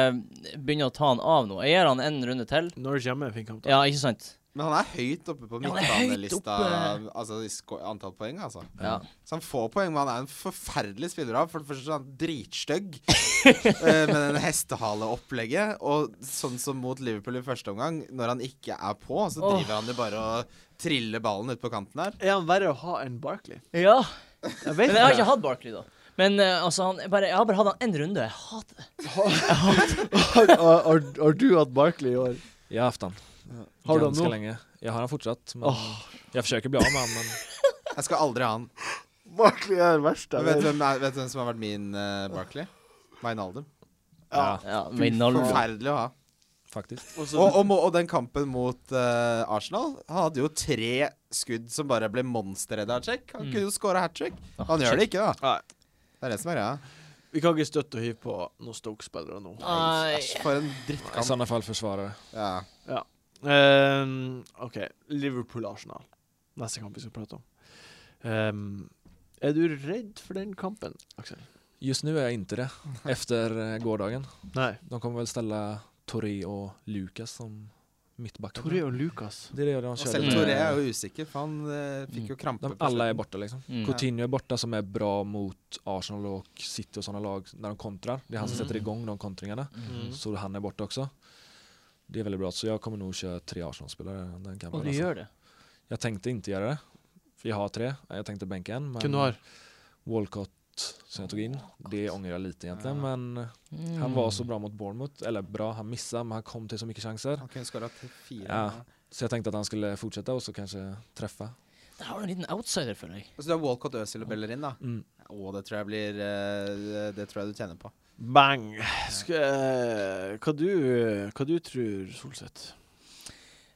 begynne å ta han av nå. Jeg gir han en runde til. Norwich hjemme er en fin kamp. da. Ja, ikke sant? Men han er høyt oppe på Ja, han er høyt midtbanelista, oppe. altså i sko- antall poeng, altså. Ja. Så han får poeng, men han er en forferdelig spiller av. For det første så er han dritstygg eh, med den hestehaleopplegget. Og sånn som mot Liverpool i første omgang, når han ikke er på, så Åh. driver han jo bare og triller ballen ut på kanten her. Er han verre å ha enn Barkley? ja. Jeg Men vet jeg har ikke ikke. hatt Barkley, da. Men eh, altså, han, jeg, bare, jeg har bare hatt han én runde. Jeg hater det. Har, har, har, har du hatt Barkley i år? Jag har haft han. Har du han Ganska nå? länge. Jag har han fortsatt. Men Åh. Jag försöker bli av med han, men Jeg skal aldri ha han. Barkley er det verste. jeg Men vet du vet. hvem, er- vet du hvem som har vært min eh, Barkley? Wijnaldum. ja, Ja, Wijnaldum. Forferdelig å ha. faktiskt. Og så- Og, og, må- og den kampen mot eh, Arsenal Han hadde jo tre skudd som bare ble monsterredda av Check. Han Mm. kunne jo skåra hat trick. Ah, Han gjør det ikke, da. Nei, Det er det som er greia. vi kan ikke støtte å hive på noen Stoke-spillere nå. altså. Nei. Æsj, for en I drittkamp. sådana fall försvarare. Ja. Ehm, OK, Liverpool-Arsenal. Neste kamp vi skal prate om. Ehm, er du redd for den kampen, Aksel? Just nu är jag inte det. Efter eh, gårdagen. Nei. De kommer väl ställa Toré og Lukas som mittbackar. Tore og Lukas. Det är det de Og körde selv med- Toré er jo usikker, for han eh, fikk jo krampe. De på alla är slutten. borta liksom. Mm. Coutinho är borta som är bra mot Arsenal och City och sådana lag när de kontrar. Det är han som Mm. sätter igång de kontringarna. Mm. Så han är borta också. Det är väldigt bra. Så jag kommer nog köra tre Arsenal-spelare den kampen. Og du alltså. gjør det. Jag tänkte inte göra det. För jag har tre. Jag tänkte bänka en. Men Hvem du har? Walcott som jag tog in. Det ångrar jag lite egentligen. Men han Mm. var så bra mot Bournemouth. Eller bra, han missade men han kom till så mycket chanser. Han kunne skåra til fire. Ja. Så jag tänkte att han skulle fortsätta och så kanskje träffa. Der har du en liten outsider, føler jeg. Og Så du har Walcott, Øzil og Bellerin, da. Mm. Å, det tror jeg blir eh, Det tror jeg du tjener på. Bang. Sk eh, hva, du, hva du tror, Solseth?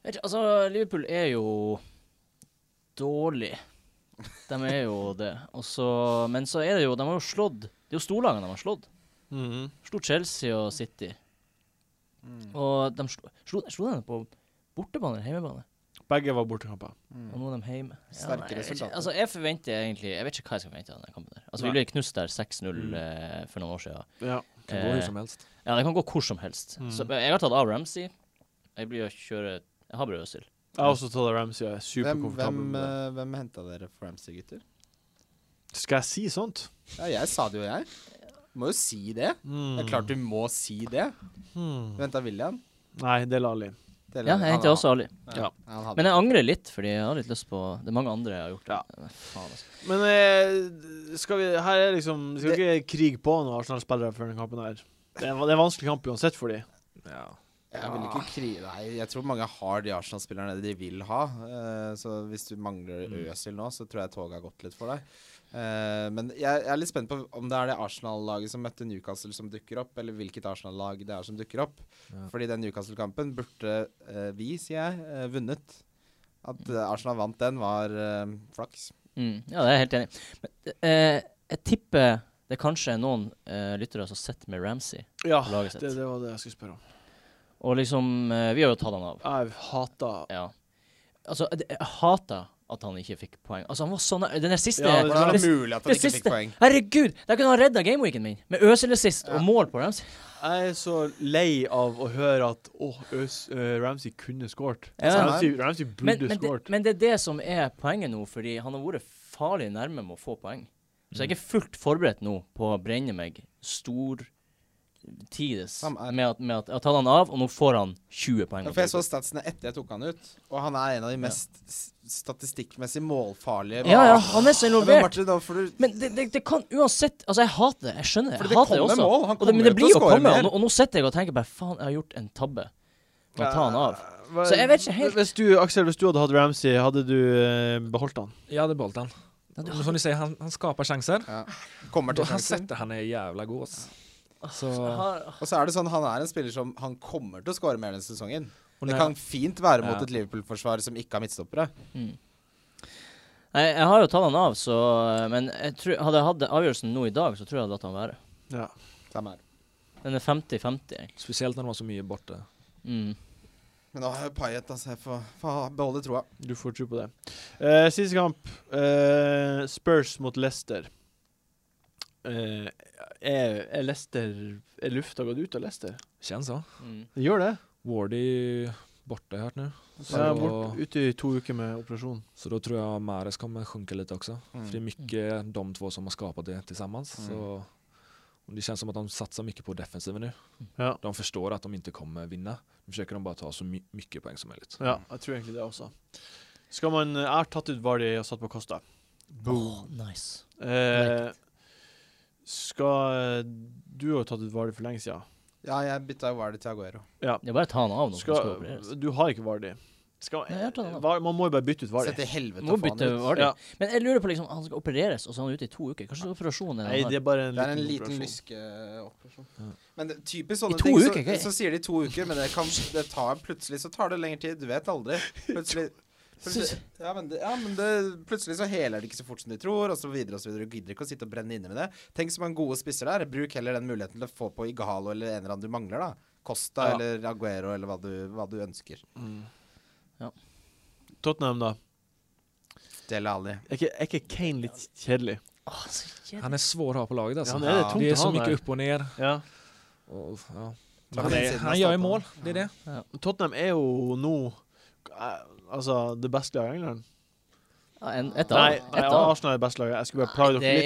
Vet ikke, Altså, Liverpool er jo dårlig. De er jo det. Og så, men så er det jo De har jo slått Det er jo storlagene de har slått. Mhm. Slo Chelsea og City. Mm, Og de slo, slo, slo de på bortebane eller hjemmebane? Begge var bortekamper. mm. Og nå er de hjemme. Sterke nei, jeg vet ikke. resultater. Altså, jeg forventer egentlig Jeg vet ikke hva jeg skal forvente av den kampen der. Altså, Nei. vi ble knust der 6-0 Mm. eh, for noen år siden. Ja. Kan gå hur Eh, som helst. Ja, det kan gå hvor som helst. Mm. Så, men jeg har tatt av Ramsey. Jeg blir å kjøre Jeg har bare Øzil. Jeg har også tatt Ramsey. Jeg er Hvem, superkomfortabel hvem, med det. eh, hvem henta dere for Ramsey, gutter? Skal jeg si sånt? Ja, jeg sa det jo, jeg. Må jo si det. Det er Mm. klart du må si det. Hmm. Venta William. Nei, det er Lali. Det er- Ja, jeg han- henter også Ali. Ja. han hadde- Men jeg angrer litt, fordi jeg har litt lyst på Det er mange andre jeg har gjort. Ja. Men Faen, altså. Men eh, skal vi Her er liksom Vi skal ikke krige på noen Arsenal-spillere før den kampen her. Det er, en- det er en vanskelig kamp uansett for dem. Ja. Jeg vil ikke kri Nei, jeg tror mange har de Arsenal-spillerne de vil ha. Eh, så hvis du mangler Mm. Øsil nå, så tror jeg toget har gått litt for deg. Eh, men jeg, jeg er litt spent på om det er det Arsenal-laget som møtte Newcastle som dukker opp, eller hvilket Arsenal-lag det er som dukker opp. Ja. Fordi den Newcastle-kampen burde eh, vi, sier jeg, eh, vunnet. At eh, Arsenal vant den, var eh, flaks. Mm, ja, det er jeg helt enig i. Men, eh, Jeg tipper det kanskje er noen eh, lyttere som sitter med Ramsey. Ja, Laget sitt. det, det var det jeg skulle spørre om. Og liksom eh, Vi har jo tatt han av. Jeg hata Ja. Altså, jeg, jeg hater at han ikke fikk poeng. Altså, han var sånn Den der siste Ja, Hvordan er det- det mulig at han det ikke siste- fikk poeng? Herregud! Der kunne han redda gameweeken min med øselassist og mål på Ramsey. Jeg er så lei av å høre at åh, Øs, eh, Ramsey kunne skåret. Ja. Ramsey, Ramsey Men, burde men, det, skåret. men det er det som er poenget nå, fordi han har vært farlig nærme med å få poeng. Så jeg er ikke fullt forberedt nå på å brenne meg stor tides Han er- med at, med at jeg har tatt han av, og nå får han 20 poeng. Ja, for jeg så statsene etter jeg tok han ut, og han er en av de Ja. mest s- statistikkmessig målfarlige ja, ja, han er så Men involvert. Martin, da får du Men det, det, det kan uansett Altså, jeg hater det. Jeg skjønner det. Fordi det Jeg hater det kommer også. mål. Han Og det, kommer men det jo til blir å jo score komme. mer. Og, nå- og nå sitter jeg og tenker bare faen, jeg har gjort en tabbe. Må ta han av. Så jeg vet ikke helt- Hvis du, Aksel, hvis du hadde hatt Ramsey, hadde du eh, beholdt han? Ja, det beholdt han. Ja, du- Men Som du sier, han, han skaper sjanser. ja. Kommer Da til han sjansen. setter han er jævla god, ass. Så Jeg har- Og så er det sånn, han er en spiller som han kommer til å skåre mer denne sesongen. Og Det når- kan fint være mot Ja. et Liverpool-forsvar som ikke har midtstoppere. Mm. Nei, jeg har jo tatt han av, så Men jeg tror, hadde jeg hatt avgjørelsen nå i dag, så tror jeg jeg hadde latt han være. Ja. Samme her. Den er 50-50, egentlig. Spesielt når han var så mye borte. Mm. Men nå har jeg Payet, altså. Jeg får, får beholde troa. Du får tro på det. Eh, siste kamp. eh, Spurs mot Leicester. Eh, er, er Leicester Er lufta gått ut av Leicester? Kjennes sånn. Mm. Det gjør det. Wardy borte, har jeg hørt nå. Så jeg er Så- bort, ute i to uker med operasjon. Så då tror jag Mares kommer sjunka lite också. Mm. För det är mycket de två som har skapat det tillsammans. Mm. Så, och det känns som att de satsar mycket på defensiven nu. Ja. De förstår att de inte kommer vinna. Nu försöker de bara ta så my mycket poäng som möjligt. ja, jeg tror egentlig det også. Skal man Jeg har tatt ut Vardy og satt på Costa. Åh, nice. Eh, skal eh, Du har jo tatt ut Vardy for lenge siden. Ja, jeg bytta Wardy til Aguero. Det er bare å ta han av nå. for han skal opereres. Skal, du har ikke Vardy. Skal, eh, Nei, jeg har tatt han av. Var- man må jo bare bytte ut Så Vardy. til helvete Må å få bytte han ut. Vardy. Ja. Men jeg lurer på liksom Han skal opereres, og så er han ute i to uker. Kanskje operasjonen er Nei, det det er bare en Det er liten, en liten operasjon. lyskeoperasjon. Ja. Men det, typisk sånne to ting, uker, så, ikke? så sier de to uker, men det kan, det tar, plutselig så tar det lengre tid. Du vet aldri. Plutselig, plutselig, ja, men det, ja, men det, plutselig så heler det ikke så fort som de tror, og så videre og så videre. Du gidder ikke å sitte og brenne inne med det. Tenk så mange gode spisser der. Bruk heller den muligheten til å få på Igalo eller en eller annen du mangler, da. Costa Ja. eller Aguero eller hva du, hva du ønsker. Mm. Ja. Tottenham, da. Del Ali. Er ikke, er ikke Kane litt kjedelig? Åh, så jævlig. Han är svår att ha på laget alltså. han er det Ja, tungt det är så å ha mycket med. upp och ner. Ja. Och, ja. Det var han, länge är, sedan han han gör ju startade. mål, det är det. Tottenham er jo nå eh, Altså det beste laget i England. Ja, en- Et av. Nei, nei Et av. Arsenal er det beste laget. Jeg skulle bare plage Det dere litt.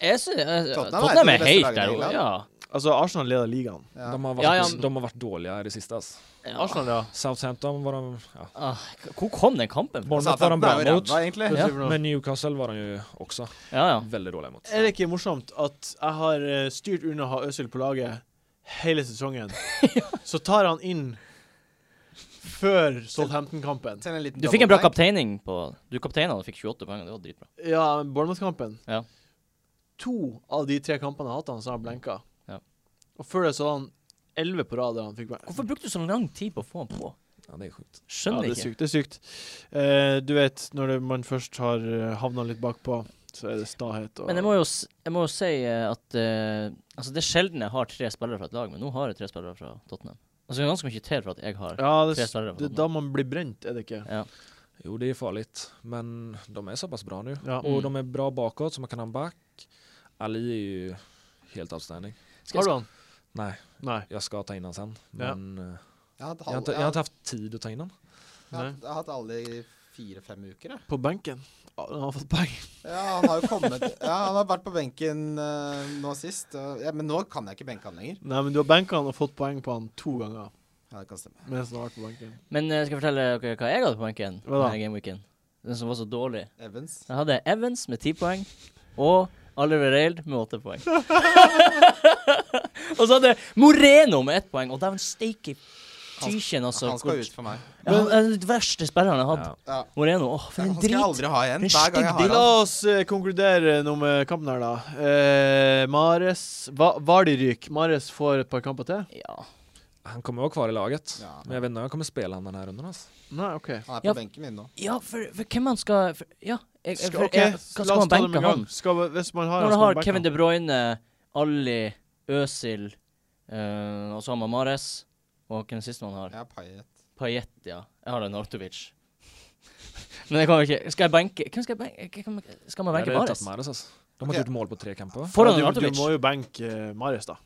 er jeg synes, jeg, Tottenham er Tottenham et er av de beste helt lagene i der oppe. England. Ja. Altså, Arsenal leder ligaen. Ja. De, har varit, Ja, ja. de har varit dåliga i det sista. Alltså. Ja. Arsenal, ja. Southampton var de... Ja. Ah, hvor kom den kampen fra? Bournemouth var de bra Satan, det er jo mot. ræva, egentlig. Hva Ja. sier du for noe? Men Newcastle var de ju också Ja, ja. väldigt dåliga mot. Er det ikke morsomt at jeg har eh, styrt unna å ha Øzil på laget hele sesongen? Så tar han inn før Southampton-kampen. Til en liten Du fikk en bra double blank. kapteining på Du kapteina og fikk 28 poeng, og det var dritbra. Ja, men Bournemouth-kampen. Ja. To av de tre kampene jeg har hatt han, så har han blenka. Ja. Og før det så hadde han elleve på rad. der Han fikk blank. Hvorfor brukte du så lang tid på å få han på? Ja, det är sjukt. Ja, Skjønner det er ikke. sykt. Det er sykt. Eh, du vet, når det, man først har eh, havna litt bakpå, så er det stahet og Men jeg må jo, s- jeg må jo si eh, at eh, Altså, det er sjelden jeg har tre spillere fra et lag, men nå har jeg tre spillere fra Tottenham. Altså, det er ganske mye til for at jeg har Ja, det, tre er spillere fra det, er da Tottenham. man blir brent, er det ikke? Ja. Jo, det är farligt, men de är så pass bra nu. Ja. Mm. Och de är bra bakåt, så man kan ha en back. Ali är ju helt outstanding. Skal Har jeg, du han? Nej, Nei. jag ska ta in honom sen. Ja. Men eh, Jeg har hatt jag, har alle- inte, jag har inte haft tid att ta in honom. jeg har hatt- jeg har hatt alle i fire-fem uker, jeg. På benken. Ja, Han har fått poeng. Ja, han har jo kommet Ja, han har vært på benken eh, nå sist. og- ja, men nå kan jeg ikke benke han lenger. Nei, men du har benka han og fått poeng på han to ganger Ja, det kan stemme. mens han har vært på benken. men eh, skal jeg fortelle dere hva jeg hadde på benken Hva da? denne gameweeken? Den som var så dårlig. Evans. Jeg hadde Evans med 10 poeng og Oliver Reild med 8 poeng. og så hadde jeg Moreno med 1 poeng, og dæven steike Tyskjen, altså. Han skal ut for meg. Ja, han er den verste sperreren jeg har hatt. Ja. Moreno. Åh, for Han en skal drit. jeg aldri ha igjen. En Hver gang stygg jeg har La han. oss eh, konkludere noe med kampen her, da. Eh, Mares Va Vardy ryker. Mares får et par kamper til? Ja. Han kommer vara kvar i laget. Ja. Men jag vet inte om jag kommer spela han den här rundan alltså. Nei, OK. Han er på Ja. benken min nå. ja, for, for hvem han skal for, Ja, jeg, jeg, Skal, for, ok, jeg, la skal, oss skal man ta det med benke en gang. han? Skal, vi- hvis man har han, Når du skal man har benke Kevin han. De Bruyne, Ali, Øsil eh, og så har man Mares. Og hvem siste man har? Jeg er paiet. Pajet, ja. Jeg har en Artovic. Men jeg kan jo ikke Skal jeg benke Hvem skal jeg benke? Hvem- Skal man Jag benke hade Mares? tagit Mahrez, alltså. De har Okej. gjort mål på tre kamper. Foran Ja, du, Arnautovic. du må jo benke eh, Mares, da.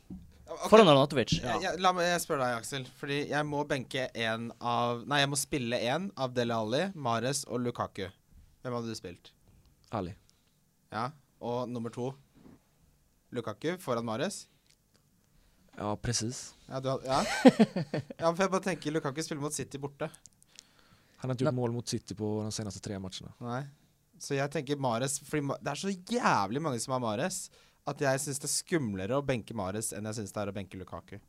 Ok, Foran Arnautovic. jeg- jeg- la meg jeg spørre deg, Aksel. Fordi jeg må benke en av Nei, jeg må spille en av Dele Alli, Mares og Lukaku. Hvem hadde du spilt? Ali. Ja. Og nummer to Lukaku foran Mares. Ja, precis. Ja, du hadde, ja. ja, for jeg bare tenker Lukaku spiller mot City borte. Han har inte gjort mål mot City på de senaste tre matcherna. Nei. Så jeg tenker Mares Fordi Ma- det er så jævlig mange som har Mares, at jeg syns det er skumlere å benke Mares enn jeg syns det er å benke Lukaku.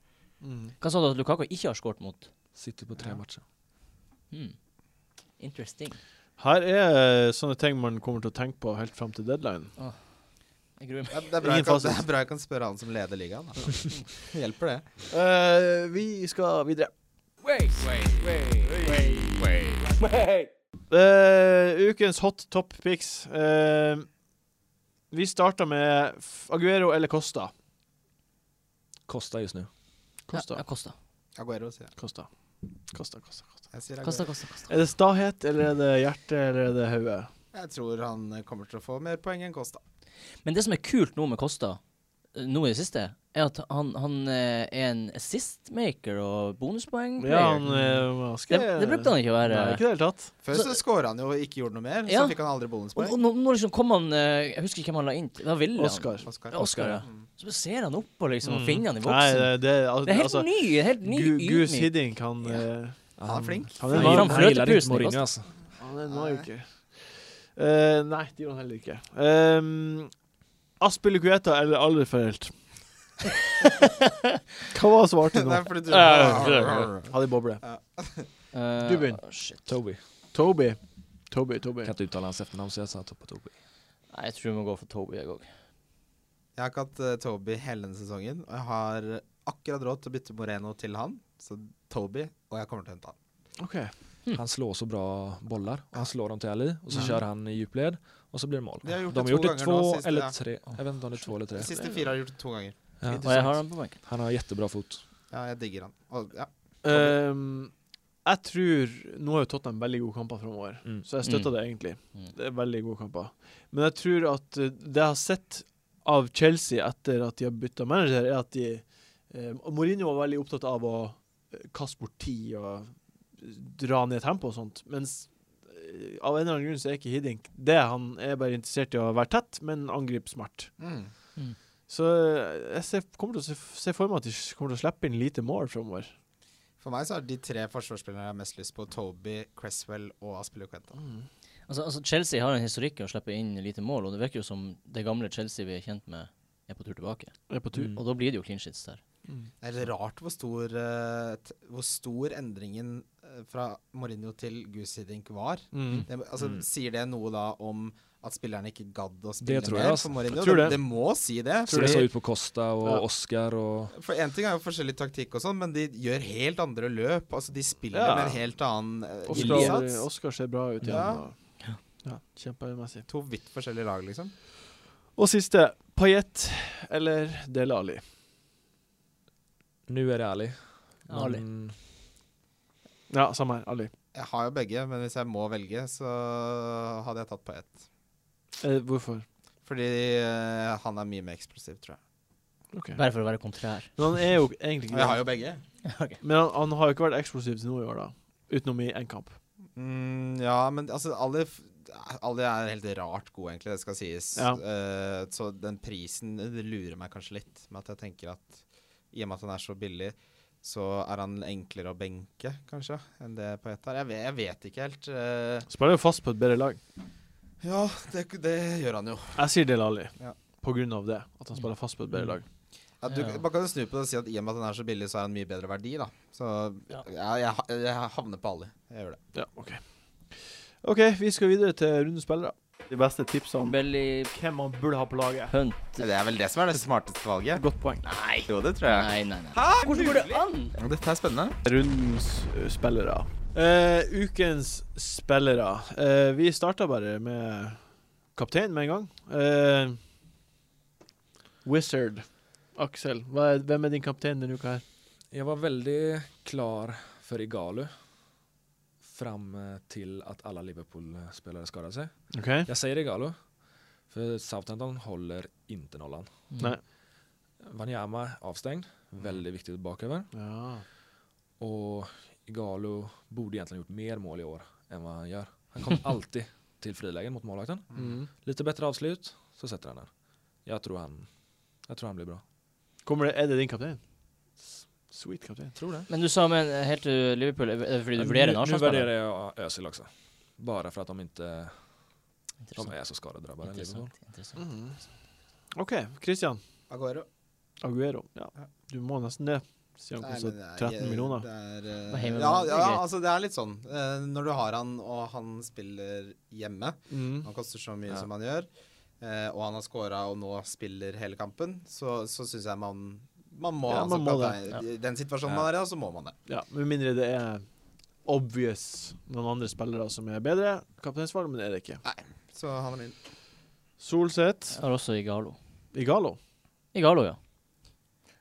Hva sa du at Lukako ikke har skåret mot? City på tre matcher. Hmm. Interesting. Her er eh, sånne ting man kommer til å tenke på helt fram til deadline. Jeg gruer meg. Det er, det er, bra, Ingen jeg kan, det fasit. er bra jeg kan spørre han som leder ligaen. da. Hjelper det? Eh, vi skal videre. Eh, ukens hot top picks. Eh, vi starter med F- Aguero eller Costa. Kostar just nu. Costa. Ja, ja, Kosta. Aguero, sier jeg. Costa. Costa, Costa, Costa. Jeg sier Kosta, Aguero. Kosta, Kosta. Er det stahet, eller er det hjerte, eller er det hode? Jeg tror han eh, kommer til å få mer poeng enn Costa. Men det som er kult nå med Kosta, eh, nå i det siste, er at han, han eh, er en assist-maker og bonuspoeng. Ja, han eh, var Mm. det, ganske det brukte han ikke å være. Nei, ikke i det hele tatt. Før så skåra han jo og ikke gjorde noe mer, Ja. så fikk han aldri Og, og bonuspoeng. nå, nå liksom kom han eh, Jeg husker ikke hvem han la inn. til. Det var William. Oscar. Oscar. Ja, Oscar, ja. Mm. Så ser han opp og liksom og Mm. finner han i Nei, boksen. det, det, al- det er helt altså, ny. helt ny Gu- Goose ydmyk. Hiddink, han Ja. eh, Han er flink. Han Han, er han, Fram magiker. fløte gillar inte pusten i Mourinho Costa. alltså. Han er en magiker. Eh, nei, det gjorde han heller ikke. Um, Aspilicueta eller Alderfelt? Hva var svaret nå? Nei, fordi du Ja, ja, Hadde boble. Eh, Du begynner. Shit. Toby. Toby. Toby, Toby. Kan inte uttala hans efternamn så jag sa Topa Toby. Nei, jeg tror vi må gå for Toby, jeg òg. Jeg har ikke hatt eh, Toby hele denne sesongen, og jeg har akkurat råd til å bytte Moreno til han. Så Toby, og jeg kommer til å hente han. OK. Han slår så bra bollar. Och han slår dem till Ali och så kör han i djupled och så blir det mål. Det har gjort De det Mm. har två gjort det gånger två nu, sist, eller ja. tre. Jag vet inte om det är två eller tre. De siste fire har gjort det to ganger. Ja. Og jeg har han på benken. Han har jättebra fot. Ja, jeg digger han. Og, ja. Um, jeg tror Nå har jo Tottenham veldig gode kamper framover, Mm. så jeg støtter Mm. det egentlig. Mm. Det er veldig gode kamper. Men jeg tror at eh, det jeg har sett av Chelsea etter at de har bytta manager, er at de eh, og Mourinho var veldig opptatt av å eh, kaste bort tid og eh, dra ned tempo og sånt. Mens eh, av en eller annen grunn så er ikke Hiddink det. Han er bare interessert i å være tett, men angripe smart. Mm. Så eh, jeg ser, kommer til å se, se for meg at de kommer til å slippe inn lite mål framover. For meg så er de tre forsvarsspillerne jeg har mest lyst på, Toby, Cresswell og Aspeløkventa. Altså, altså, Chelsea har en historikk i å slippe inn lite mål, og det virker jo som det gamle Chelsea vi er kjent med, er på tur tilbake. Er på tur. Mm. Og da blir det jo clean shits der. Det er rart hvor stor, eh, t hvor stor endringen eh, fra Mourinho til Gusidink var. Mm. Det, altså, Mm. Sier det noe da om at spillerne ikke gadd å spille Det tror jeg, mer altså. for Mourinho? Jeg tror det. det. må si det. Så det fordi- såg ut på Costa och Ja. Oscar och... For én ting er jo forskjellig taktikk og sånn, men de gjør helt andre løp. Altså, de spiller Ja. med en helt annen eh, Oscar, innsats. Oscar ser bra ut igjen. Ja. Og, ja, kjempemessig. To vidt forskjellige lag, liksom. Og siste. Paillette eller Dele Ali? Nu är det Ali. Men Ali. Ja, samme her. Ali. Jeg har jo begge, men hvis jeg må velge, så hadde jeg tatt på ett. Eh, hvorfor? Fordi eh, han er mye mer eksplosiv, tror jeg. Ok. Bare for å være kontrær. Men han er jo egentlig Og jeg ikke har jo begge. Ok. Men han, han har jo ikke vært eksplosiv til nå i år, da. Utenom i én kamp. Mm, ja, men altså, alle, f- alle er helt rart gode, egentlig. Det skal sies. Ja. Eh, så den prisen det lurer meg kanskje litt, med at jeg tenker at i og med at han er så billig, så er han enklere å benke, kanskje, enn det Paet er. Jeg vet, jeg vet ikke helt. eh, Spiller jo fast på et bedre lag. Ja, det, det gjør han jo. Jeg sier Dele Ali Ja. Mm. på grunn av det. At han spiller fast på et bedre lag. Ja, du, Ja. Man kan jo snu på det og si at i og med at den er så billig, så er den mye bedre verdi, da. Så ja. Ja. jeg, ha- jeg havner på alle. Jeg gjør det. Ja, OK. OK, vi skal videre til rundens spillere. De beste tipsene om Belly hvem man burde ha på laget. Hunt. Det er vel det som er det smarteste valget. Godt poeng. Nei. Jo, det tror jeg. Nei, nei, nei. Hvordan går det an? Dette er spennende. Rundens eh, spillere. Eh, ukens spillere. Eh, vi starta bare med kaptein med en gang. Eh, Wizard. Aksel, hva er, hvem er din kaptein denne uka her? Jag var väldigt klar för Igalu fram eh, till att alla Liverpool-spelare skadade sig. OK? Jag säger Igalo, för Southampton håller inte nollan. Nei. Wanyama avstängd, väldigt viktigt baköver. Ja. Och Igalo borde egentligen gjort mer mål i år än vad han gör. Han kom alltid till frilägen mot målvakten. Mm. Lite bättre avslut, så sätter han den. Jag tror han, jag tror han blir bra. Kommer det, er det din kaptein? Sweet kaptein. Tror det. Men du sa men helt til Liverpool er det fordi du Men vurderer nu- en Nu värderar Arsenal-spiller? jag Özil också. Bara för att de inte de är så skadedrabbade. Liverpool. Interessant. interessant. Mm. OK, Christian. Aguero. Aguero. Ja. Du må nesten det. Siden han kostet 13 millioner. Det er, eh, På ja, hjemmebane, det er ja, greit. altså det er litt sånn. eh, når du har han, og han spiller hjemme Mm. Han koster så mye Ja. som han gjør, eh, og han har scora og nå spiller hele kampen, så, så syns jeg man, man må Ja, ha han man som må kaptein. I den situasjonen man er i, da, så må man det. Ja, med mindre det er obvious noen andre spillere som er bedre kapteinsvalg, men det er det ikke. Så han er min. Solseth, Jeg har også Igalo. Igalo. Igalo, ja.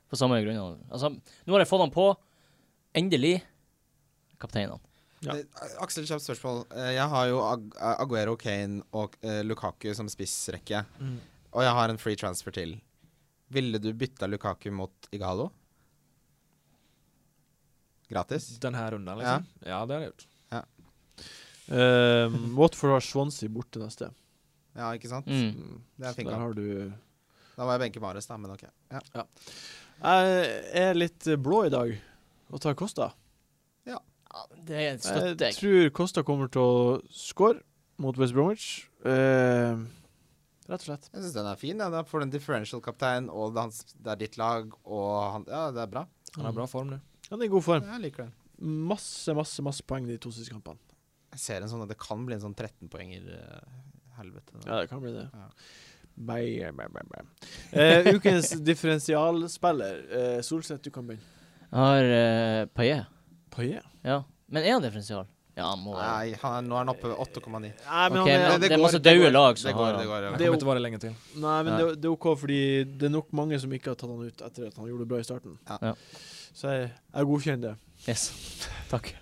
På samme grunn. Altså, nå har jeg fått han på. Endelig. Kapteinene. Ja. Eh, Aksel, kjapt spørsmål. Eh, jeg har jo Ag Aguero, Kane og eh, Lukaku som spissrekke, Mm. og jeg har en free transfer til. Ville du bytta Lukaku mot Igalo? Gratis? Den här rundan liksom. Ja, det har jag gjort. Eh, Watford har Swansea borte neste. Ja, ikke sant? Mm. Mm. Det er fin Der kamp. har du Da må jeg benke Mares, da, men ok. Ja. Jeg er litt blå i dag og tar Costa. Ja, Det støtter Jeg jeg. tror Costa kommer til å score mot West Bromwich. Eh, rett og slett. Jeg syns den er fin. Ja. Da får du en differential-kaptein, og det er hans- det er ditt lag, og han Ja, det er bra. Han har bra form nu. Han er i god form. Jeg liker den. Masse, masse masse poeng de to siste kampene. Jeg ser en sånn at det kan bli en sånn 13-poenger. eh, Helvete. Ja, det kan bli det. Ja. Bye, bye, bye, bye. Eh, ukens differensialspiller. Eh, Solseth, du kan begynne. Jeg har uh, Paillet. Paillet? Ja. Men er han differensial? Ja, han må være. Nei, han er, nå er han oppe ved Nei, 8,9. men Ok, han er, men- det det er går, masse det daue går, lag som det går, har det går, Han ja. Det er kommer jo- inte vara det länge till. Nei, men Ja. det, det er OK, fordi det er nok mange som ikke har tatt han ut etter at han gjorde det bra i starten. Ja. Ja. Så jeg, jeg godkjenner det. Yes. Takk.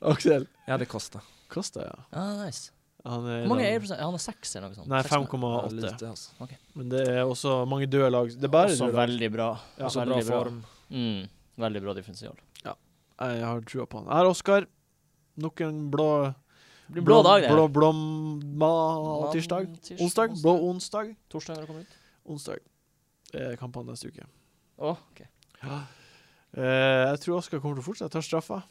Aksel. Jag hade Costa. Kosta, ja. Ah, nice. Han Hvor mange er det? prosent? Han er seks eller noe sånt? Nei, Seks med. Ja, 5,8. lite alltså. Men det er også mange døde lag. Det er bare Også døde lag. veldig bra. Ja, Också bra väldigt bra. form. Mm. Veldig bra differensial. Jeg har trua på han. Her, Oskar. Nok en blå Det blir blå dag, det. Blå, blå, ma- tirsdag. Tirs- Onsdag. Blå onsdag. Torsdag når det kommer ut. Onsdag. Eh, kampene neste uke. Å, ok. Eh, jeg tror Oskar kommer til å fortsette. Tar straffa.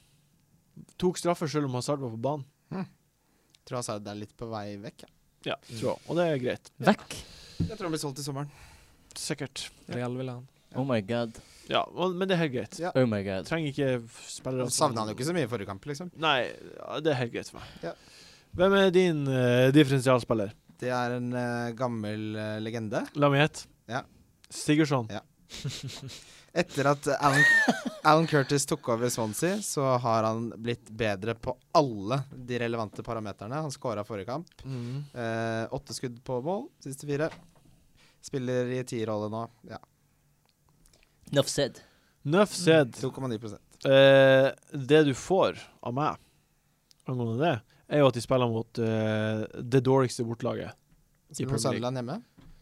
Tok straffer selv om Hazard var på banen. Jeg tror Hazard er litt på vei vekk. Ja, Ja. tror jeg. Og det er greit. Vekk. Jeg tror han blir solgt i sommeren. Sikkert. Real vill han. Oh my god. Ja, og- men det er helt greit. Ja. Oh my god. Trenger ikke f- spillere Da savna han jo ikke så mye i forrige kamp, liksom. Nei, ja, det er helt greit for meg. Ja. Hvem er din eh, differensialspiller? Det er en eh, gammel eh, legende. La meg gjette. Ja. Sigurdsson. Etter at eh, Alan, Alan Curtis tok over Swansea, så har han blitt bedre på alle de relevante parameterne. Han scora forrige kamp. Eh, åtte skudd på mål, siste fire. Spiller i tierrolle nå. Ja, Nuff said. Nøff said. 2,9 Eh, det du får av meg angående det, er jo at de spiller mot eh, det dårligste bortelaget. I Spiller Premier mot Sunderland hjemme.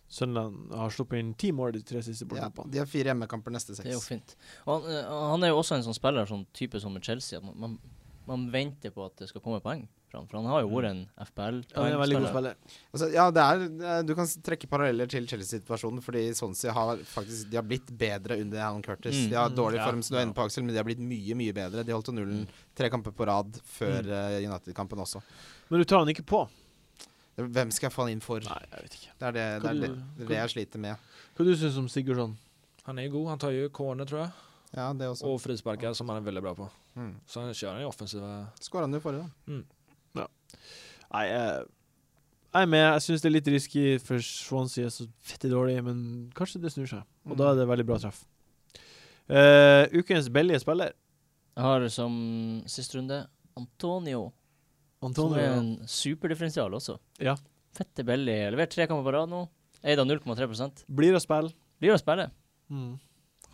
Sunderland har sluppet inn ti mål de tre siste Ja, bortekampene. de har fire hjemmekamper neste Det er jo seks. fint. Og han, eh, han er jo også en sånn spiller, sånn type som med Chelsea, at man, man, man venter på at det skal komme poeng fra han. For han har jo vært en Ja, det er en veldig god FPL-poengspiller. spiller. Altså, ja, det er, eh, du kan s- trekke paralleller til Chelsea-situasjonen, fordi Swansea har faktisk De har blitt bedre under Alan Curtis. Mm. De har Mm, dårlig ja, form, som du er inne på, Aksel, men de har blitt mye, mye bedre. De holdt jo Mm. nullen tre kamper på rad før eh, United-kampen også. Men du tar han ikke på. Hvem skal jeg falle inn for? Nei, jeg vet ikke. Det er det, det, Kan er du- det, det, er det jeg sliter med. Hva du syns du om Sigurdsson? Han är ju god. Han tar ju corner tror jag. Ja, det også. Och frisparkar som han är väldigt bra på. Mm. Så han kör han i offensiva... Skåra han jo forrige, da. Nei, jeg, jeg er med. Jeg syns det er litt risky, for Swansea er så fette dårlig, men kanskje det snur seg. Og da er det veldig bra treff. Eh, ukens billige spiller, Jeg har som siste runde Antonio, som er Antonio. en superdifferensial også. Ja. Fette belly. Levert tre kamper på rad nå. Eid av 0,3 Blir å spille. Blir å spille. Mm.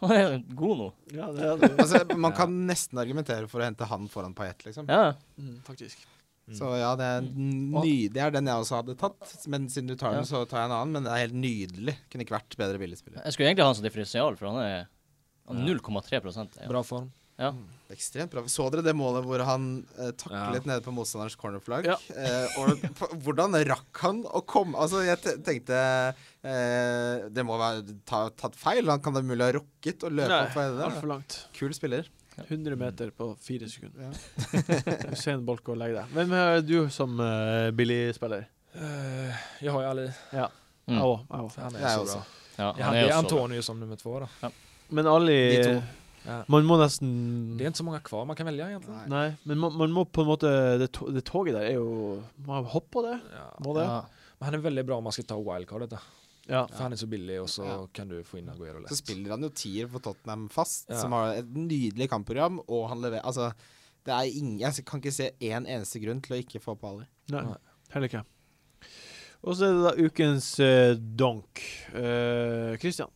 Han er jo god nå. Ja, det er det. Altså, man kan nesten argumentere for å hente han foran Paillette, liksom. Ja. Mm, faktisk. Så ja, det er, Mm. ny, det er den jeg også hadde tatt. Men siden du tar Ja. den, så tar jeg en annen. Men det er helt nydelig. Kunne ikke vært bedre billigspiller. Jeg skulle egentlig ha han som differensial, for han er han er 0,3 er han. Bra form. Ekstremt bra. Så dere det målet hvor han eh, taklet nede på motstanderens cornerflagg? Eh, og på, hvordan rakk han å komme Altså, jeg te- tenkte eh, Det må være ta, tatt feil. Han kan da mulig ha rukket å løpe Nei, opp for det. altfor langt. Kul spiller. 100 meter på fire sekunder. Ja. Usain Bolt går og legger deg. Hvem er du som eh, billig spiller? Eh, jeg har ju Ali. Jeg Mm. òg, jeg òg. för Han är Jag så också. bra. Ja, Jag han er hade også bra. Antonio som nummer två då. Men Ali eh, De to. Ja. Man må nesten Det är inte så många kvar man kan välja egentligen. Nei. Nei, men man, man må på en måte Det, to, det toget der er jo Man må hoppe på det. Ja. Må det. Ja. Men han är väldigt bra om man ska ta wildcardet. Då. Ja. För han är så billig och så Ja. kan du få in Aguero lätt. Så spiller han jo tier for Tottenham fast, Ja. som har et nydelig kampprogram, og han leverer Altså, det er ingen Jeg kan ikke se én eneste grunn til å ikke få på Ali. Nei. Nei. Heller ikke. Og så er det da ukens eh, donk. Eh, Christian.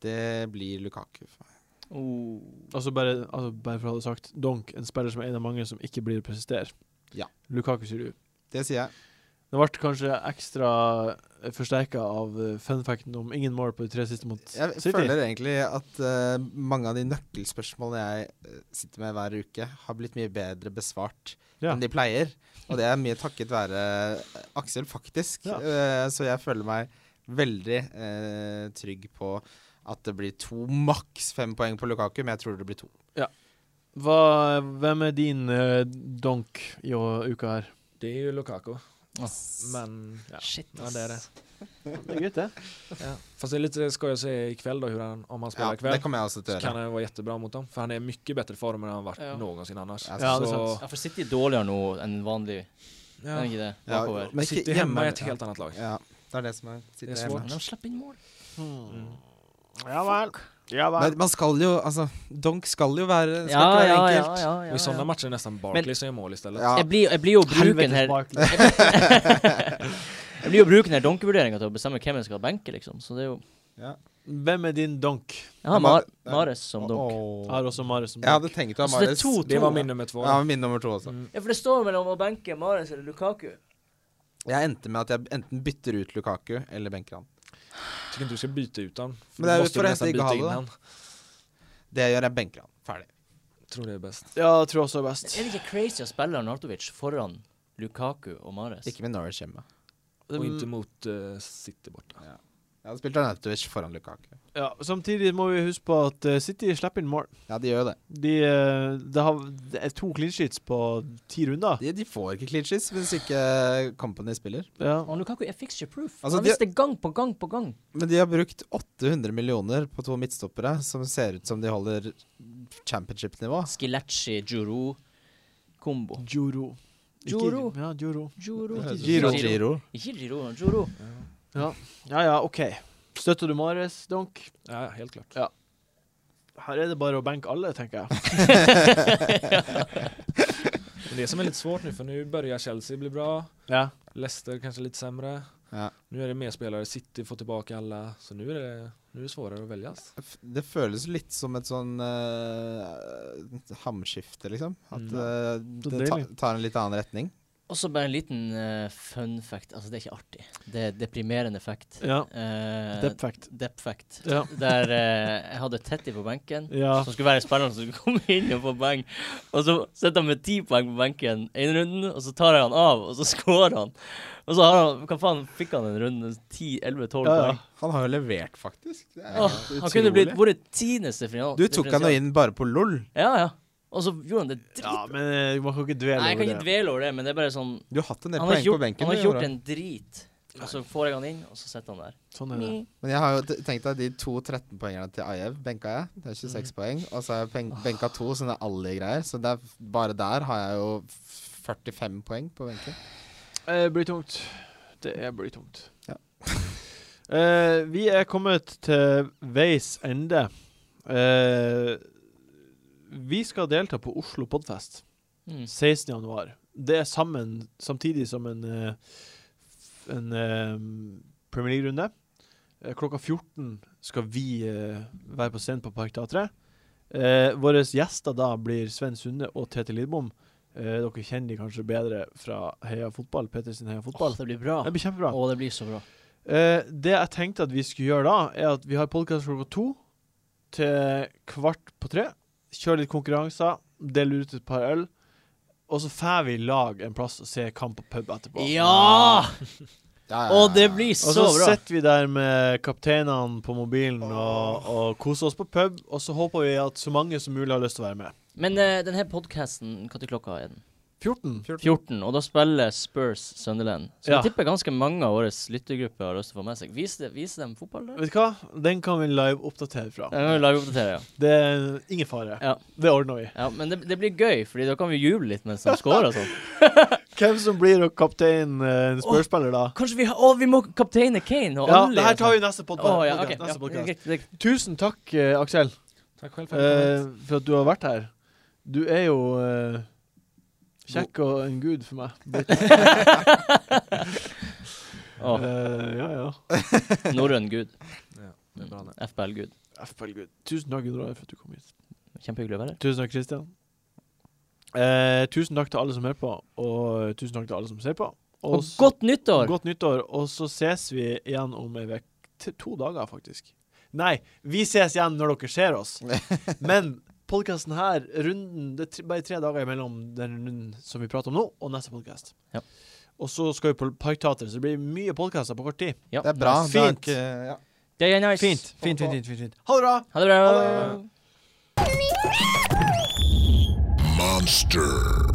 Det blir Lukaku. for meg. Oh. Altså bare, altså bare for å ha det sagt, donk. En spiller som er en av mange som ikke blir å prestere. Ja. Lukaku, sier du. Det sier jeg. Det ble kanskje ekstra forsterka av eh, funfacten om ingen mål på de tre siste mot Jeg City. føler egentlig at eh, mange av de nøkkelspørsmålene jeg eh, sitter med hver uke, har blitt mye bedre besvart Ja. enn de pleier. Og det er mye takket være eh, Aksel, faktisk. Ja. Eh, så jeg føler meg veldig eh, trygg på at det blir to, maks fem poeng på Lukaku, men jeg tror det blir to. Hva, hvem er din eh, donk i å- uka her? Det är ju Lukaku. Ja. Men ja. Shit, Ja, det är det. Det er greit, det. Ja. Fast det eh, är lite skoj att se ikväll då hur han, om han spelar Ja, ikväll. det kommer jeg også Så til å kan gjøre. han vara jättebra mot dem. För han är i mycket bättre form än han varit Ja. någonsin annars. Ja, Ja, det är så, sant. Ja, for City er dårligere nå enn vanlig. ja. Er det ikke det? Ja, Bakover. men City ikke hemma hjemme. är ett helt annat lag. Ja, det er det som er Det sitter er hjemme. svårt. Men de slipper inn mål. Hmm. Ja vel. Ja vel. Men man skal jo, altså Donk skal jo være skal Ja, ikke være ja, ja, enkelt. ja, Och I sådana ja, ja. matcher är nästan Barkley som gör mål istället. Ja. Jeg blir, jeg blir jo bruken her Barkley. Jeg blir jo bruken her donkevurderinga til å bestemme hvem jeg skal benke, liksom. Så det er jo Hvem er din donk? Jeg har Mar Mares som donk. Åh. Jeg har også Marius som Jeg donk. hadde tenkt å ha Så Altså, det er Mares. to- Det var min nummer två. Ja, min nummer to også. Mm. Ja, for det står mellom å benke Mares eller Lukaku. Jeg endte med at jeg enten bytter ut Lukaku eller benker han. Tycker inte du ska byta ut honom. Men det är ju du måste för ju att nästan inte byta in Galo. honom. Det jeg gjør, jeg benker han. Ferdig. Tror det är bäst. Ja, jeg tror også det er Men best. Er det ikke crazy å spille Arnautovic foran Lukaku og Mares? Ikke med Norwich hjemme. Mm. Och inte mot eh, City borta. Jeg hadde spilt Arnautovic foran Lukaku. Ja, samtidig må vi huske på at eh, City slipper inn mål. Ja, de gjør jo det. De, eh, det har, det er to clean sheets på ti runder. De, de får ikke klitsjis hvis ikke Company spiller. Ja. Og Lukaku er fixture proof. Altså, Han de- visste gang på gang på gang. Men de har brukt 800 millioner på to midtstoppere som ser ut som de holder championship-nivå. Skilacci, Juro, Kombo. Juro. Ikke- Juro. Ja, Juro. Juro Giro. Giro. Ikke Giro, Juro. Ja ja, OK. Støtter du Mares, Donk? Ja, helt klart. Her er det bare å benke alle, tenker jeg. Men det som är lite svårt nu, för nu börjar Chelsea bli bra. Ja. Leicester kanske lite sämre. Ja. Nu är det mer spelare, City får tillbaka alla. Så nu är det, nu är det svårare att väljas. F- Det føles litt som et sånn eh, hamskifte, liksom. At Mm. eh, Så det ta, deilig. tar en litt annen retning. Og så bare en liten eh, fun fact. Altså, det er ikke artig. Det er deprimerende fact. ja. Eh, Dep fact. Dep fact. Ja. Der eh, jeg hadde Tetty på benken, Ja. som skulle være spilleren som skulle komme inn og få poeng. Og så sitter han med ti poeng på benken én runden, og så tar jeg han av, og så scorer han. Og så har han, hva faen, fikk han en runde 10-11-12 Ja, ja. poeng. Han har jo levert, faktisk. Det er Åh, helt han kunne utrolig. blitt vært tiendes differensial. Du tok han jo inn bare på LOL. Ja, ja. Og så gjorde han det drit... ja, men eh, man kan ikke dvele Nei, jeg kan over ikke det. dvele over det, men det er bare sånn Du har hatt en del Han har poeng ikke på gjort, benken. han har du, ikke gjort Jorda. en drit. Og så får jeg han inn, og så sitter han der. Sånn er det. Men jeg har jo t- tenkt deg de to 13-poengerne til Ajev benka jeg. Det er Mm. 26 poeng. Og så har jeg pen- benka to sånne Ali-greier. Så det er, f- bare der har jeg jo f- 45 poeng på benken. Det Eh, blir tungt. Det er- blir tungt. Ja. Eh, vi er kommet til veis ende. Eh, vi skal delta på Oslo Podfest Mm. 16. januar. Det er sammen, samtidig som en, eh, f- en eh, Premier League-runde. Eh, klokka 14 skal vi eh, være på scenen på Parkteatret. Eh, Våre gjester da blir Sven Sunde og Tete Lidbom. Eh, dere kjenner de kanskje bedre fra Heia Fotball, Peter sin Heia Fotball. Åh, det blir bra. Det blir kjempebra. Å, det blir så bra. Eh, det jeg tenkte at vi skulle gjøre da, er at vi har podkast klokka to til kvart på tre. Kjøre litt konkurranser, dele ut et par øl. Og så får vi i lag en plass og se kamp på pub etterpå. Ja! Ja, ja, Å, ja, det ja. blir Og så så bra. sitter vi der med kapteinene på mobilen og, og koser oss på pub. Og så håper vi at så mange som mulig har lyst til å være med. Men eh, denne podkasten, når klokka er den? 14. 14, og da spiller Spurs Sunderland. Så Ja. jeg tipper ganske mange av våre lyttergrupper har lyst til å få med seg. Vis, det, vis dem fotball, der. Vet du hva? Den kan vi live-oppdatere fra. Det kan vi liveoppdatere, ja. Det er ingen fare. Ja. Det ordner vi. ja. Men det, det blir gøy, Fordi da kan vi juble litt mens de scorer og sånn. Hvem som blir å kaptein eh, en spørsspiller da? Kanskje vi har Å, vi må kapteine Kane og Ja, alle. det her tar vi i neste altså. Å, podkast. ja, ok. Ja, neste podcast. greit, greit. Tusen takk, eh, Aksel, Takk selv for eh, at for at du har vært her. Du er jo eh, kjekk og en gud for meg. Å, Eh, ja, ja. norrøn gud. ja, det er bra, det. FBL-gud. FPL-gud. Tusen takk, Gunnar, for at du kom hit. Kjempehyggelig å være her. Tusen takk, Kristian. Eh, tusen takk til alle som hører på, og tusen takk til alle som ser på. Og, så- godt nyttår! Godt nyttår. Og så ses vi igjen om ei uke. To dager, faktisk. Nei, vi ses igjen når dere ser oss. Men podkasten her, runden Det er tre- bare tre dager imellom den runden som vi prater om nå, og neste podkast. Ja. Og så skal vi på Parkteatret, så det blir mye podkaster på kort tid. Ja. Det er bra. Nice. Det er Fint. ikke, ja. Det er nice. Fint. Fint, fint, fint, fint, fint. Ha det bra! Ha det bra. Ha det. Monster.